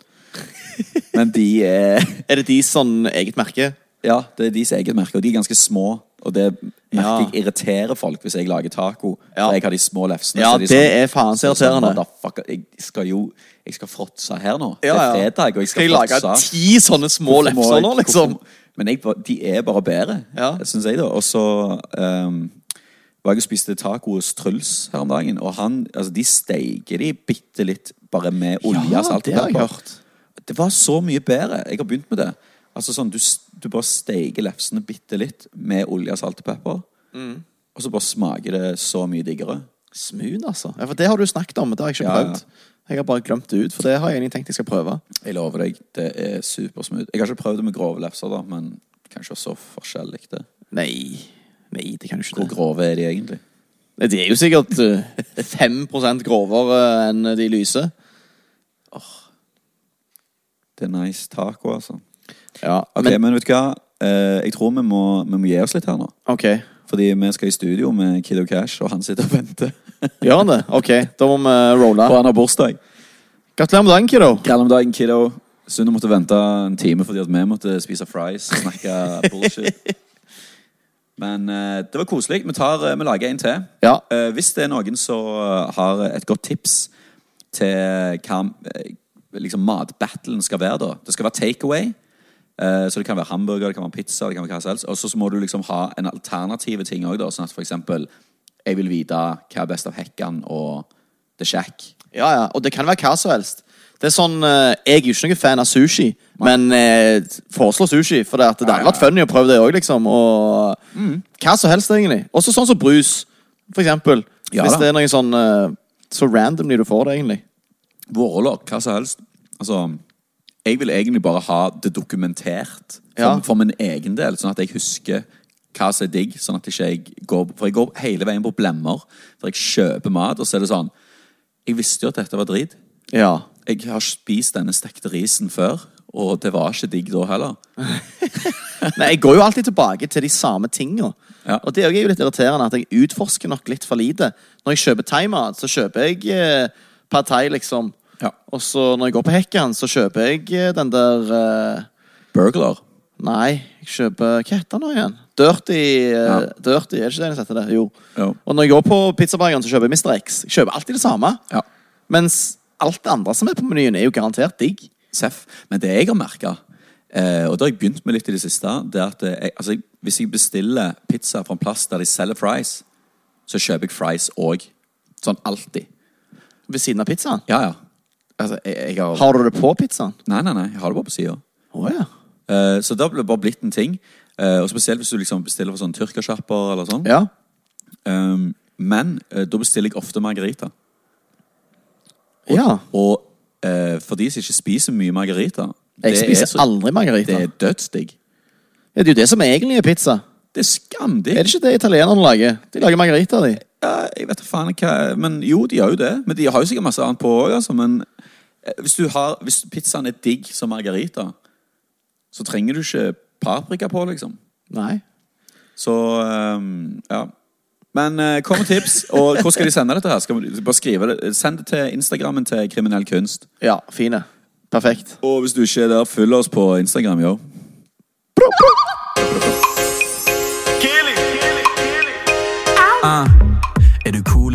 Speaker 2: Men de er
Speaker 4: Er det de sånn eget merke?
Speaker 2: Ja, det er deres eget merke, og de er ganske små. Og det merker
Speaker 4: Ja.
Speaker 2: jeg irriterer folk hvis jeg lager taco.
Speaker 4: Ja.
Speaker 2: For jeg har de små lefsene.
Speaker 4: Ja,
Speaker 2: så de
Speaker 4: det er faen så
Speaker 2: så sånn,
Speaker 4: irriterende.
Speaker 2: motherfucker, Jeg skal jo Jeg skal fråtse her nå.
Speaker 4: Ja, ja.
Speaker 2: Det er fredag, og jeg skal,
Speaker 4: Skal jeg lage
Speaker 2: fråtse.
Speaker 4: ti sånne små
Speaker 2: Hvorfor må
Speaker 4: lefser
Speaker 2: jeg-
Speaker 4: nå, liksom?
Speaker 2: hvorfor- Men jeg, bare- de er bare bedre,
Speaker 4: Ja.
Speaker 2: syns jeg, da. Og så ehm, var jeg og spiste taco hos Truls her om dagen, og han Altså, de steiker de bitte litt bare med olje
Speaker 4: Ja,
Speaker 2: salt og
Speaker 4: det har jeg
Speaker 2: pepper.
Speaker 4: hørt.
Speaker 2: Det var så mye bedre. Jeg har begynt med det. Altså sånn, Du, s- du bare steiker lefsene bitte litt med olje, salt og pepper.
Speaker 4: Mm.
Speaker 2: Og så bare smaker det så mye diggere.
Speaker 4: Smooth, altså. Ja, for det har du snakket om, men det har jeg ikke
Speaker 2: Ja, ja.
Speaker 4: prøvd. Jeg har bare glemt det ut, for det har jeg egentlig tenkt jeg skal prøve.
Speaker 2: Jeg lover deg, det er supersmooth. Jeg har ikke prøvd det med grove lefser, da, men kanskje så forskjellig det.
Speaker 4: Nei, nei, det kan du ikke.
Speaker 2: Hvor
Speaker 4: det.
Speaker 2: grove er de egentlig?
Speaker 4: Nei, De er jo sikkert eh, 5 grovere enn eh, de lyse.
Speaker 2: Det er nice taco, altså.
Speaker 4: Ja,
Speaker 2: Ok,
Speaker 4: men
Speaker 2: Men, vet du hva? Eh, jeg tror vi må, vi må gi oss litt her nå.
Speaker 4: OK.
Speaker 2: Fordi vi skal i studio med Kid og Cash, og han sitter og venter.
Speaker 4: Gjør han det? OK, da må vi eh, rolle.
Speaker 2: Og han har bursdag.
Speaker 4: Gratulerer med dagen, kiddo.
Speaker 2: Grell om dagen, kiddo. Sunne måtte vente en time fordi at vi måtte spise fries og snakke bullshit. Men eh, det var koselig. Vi, tar, eh, vi lager en til.
Speaker 4: Ja.
Speaker 2: Eh, hvis det er noen som eh, har et godt tips til hva eh, liksom matbattlen skal være, da Det skal være takeaway. Eh, så det kan være hamburger, det kan være pizza, det kan være hva som helst. Og så så må du liksom ha en alternative ting òg, da. Sånn at for eksempel Jeg vil vite hva er best av Hekkan og The Shack.
Speaker 4: Ja, ja, og det kan være hva som helst. Det er sånn, eh, Jeg er jo ikke noen fan av sushi, men eh, foreslå sushi. For det, at det
Speaker 2: Ja,
Speaker 4: hadde
Speaker 2: ja, Mm.
Speaker 4: vært funny å prøve det òg, liksom. Og hva som helst, egentlig. Også sånn som brus, for eksempel.
Speaker 2: Ja,
Speaker 4: Hvis
Speaker 2: da.
Speaker 4: det er noe sånn eh, så randomly du får det, egentlig.
Speaker 2: Vårlokk, hva som helst. Altså, jeg vil egentlig bare ha det dokumentert for,
Speaker 4: Ja.
Speaker 2: for min egen del, sånn at jeg husker hva som er digg. Sånn at ikke jeg går, for jeg går hele veien på blemmer. For jeg kjøper mat, og så er det sånn Jeg visste jo at dette var drit.
Speaker 4: Ja.
Speaker 2: Jeg har spist denne stekte risen før, og det var ikke digg da heller.
Speaker 4: Nei, Jeg går jo alltid tilbake til de samme tinga.
Speaker 2: Ja.
Speaker 4: Og det er jo litt irriterende at jeg utforsker nok litt for lite. Når jeg kjøper thaimat, så kjøper jeg eh, pad thai, liksom.
Speaker 2: Ja.
Speaker 4: Og så når jeg går på Hekkan, så kjøper jeg eh, den der eh,
Speaker 2: Burglar.
Speaker 4: Nei, jeg kjøper Hva heter den nå igjen? Dirty, eh,
Speaker 2: Ja.
Speaker 4: Dirty, er det ikke det den heter? det? Jo.
Speaker 2: Jo.
Speaker 4: Og når jeg går på pizzabergeren, så kjøper jeg Mr. X. Jeg kjøper alltid det samme.
Speaker 2: Ja.
Speaker 4: Mens alt det andre som er på menyen, er jo garantert digg.
Speaker 2: Seff. Men det jeg har merka, eh, og det har jeg begynt med litt i det siste, det er at eh, jeg, altså, jeg- hvis jeg bestiller pizza fra en plass der de selger fries, så kjøper jeg fries òg. Sånn alltid.
Speaker 4: Ved siden av pizzaen.
Speaker 2: Ja, ja. Altså, jeg, jeg har
Speaker 4: Har du det på pizzaen?
Speaker 2: Nei, nei, nei. Jeg har det bare på sida.
Speaker 4: Å ja.
Speaker 2: Eh, så det har bare blitt en ting. Eh, og spesielt hvis du liksom bestiller fra sånn tyrkersjapper eller sånn.
Speaker 4: Ja.
Speaker 2: Eh, men eh, da bestiller jeg ofte margarita.
Speaker 4: ja.
Speaker 2: Og eh, for de som ikke spiser mye margarita
Speaker 4: Jeg
Speaker 2: det er
Speaker 4: spiser
Speaker 2: så-
Speaker 4: aldri margarita.
Speaker 2: Det er
Speaker 4: Det,
Speaker 2: dødsdigg.
Speaker 4: ja, det er jo det som egentlig er pizza.
Speaker 2: Det er skamdigg.
Speaker 4: Er det ikke det italienerne lager? De lager margarita, de.
Speaker 2: Ja, jeg vet da faen hva Men jo, de gjør jo det. Men de har jo sikkert masse annet på òg, altså. Men eh, hvis, du har, hvis pizzaen er digg som margarita, så trenger du ikke paprika på, liksom.
Speaker 4: Nei.
Speaker 2: Så ehm, ja. Men eh, kom med tips. Og hvor skal de sende dette her? Skal vi bare skrive det? Send det til Instagrammen til Kriminell kunst.
Speaker 4: Ja, fine. Perfekt.
Speaker 2: Og hvis du ikke er der, følg oss på Instagram, yo.
Speaker 1: Er du cool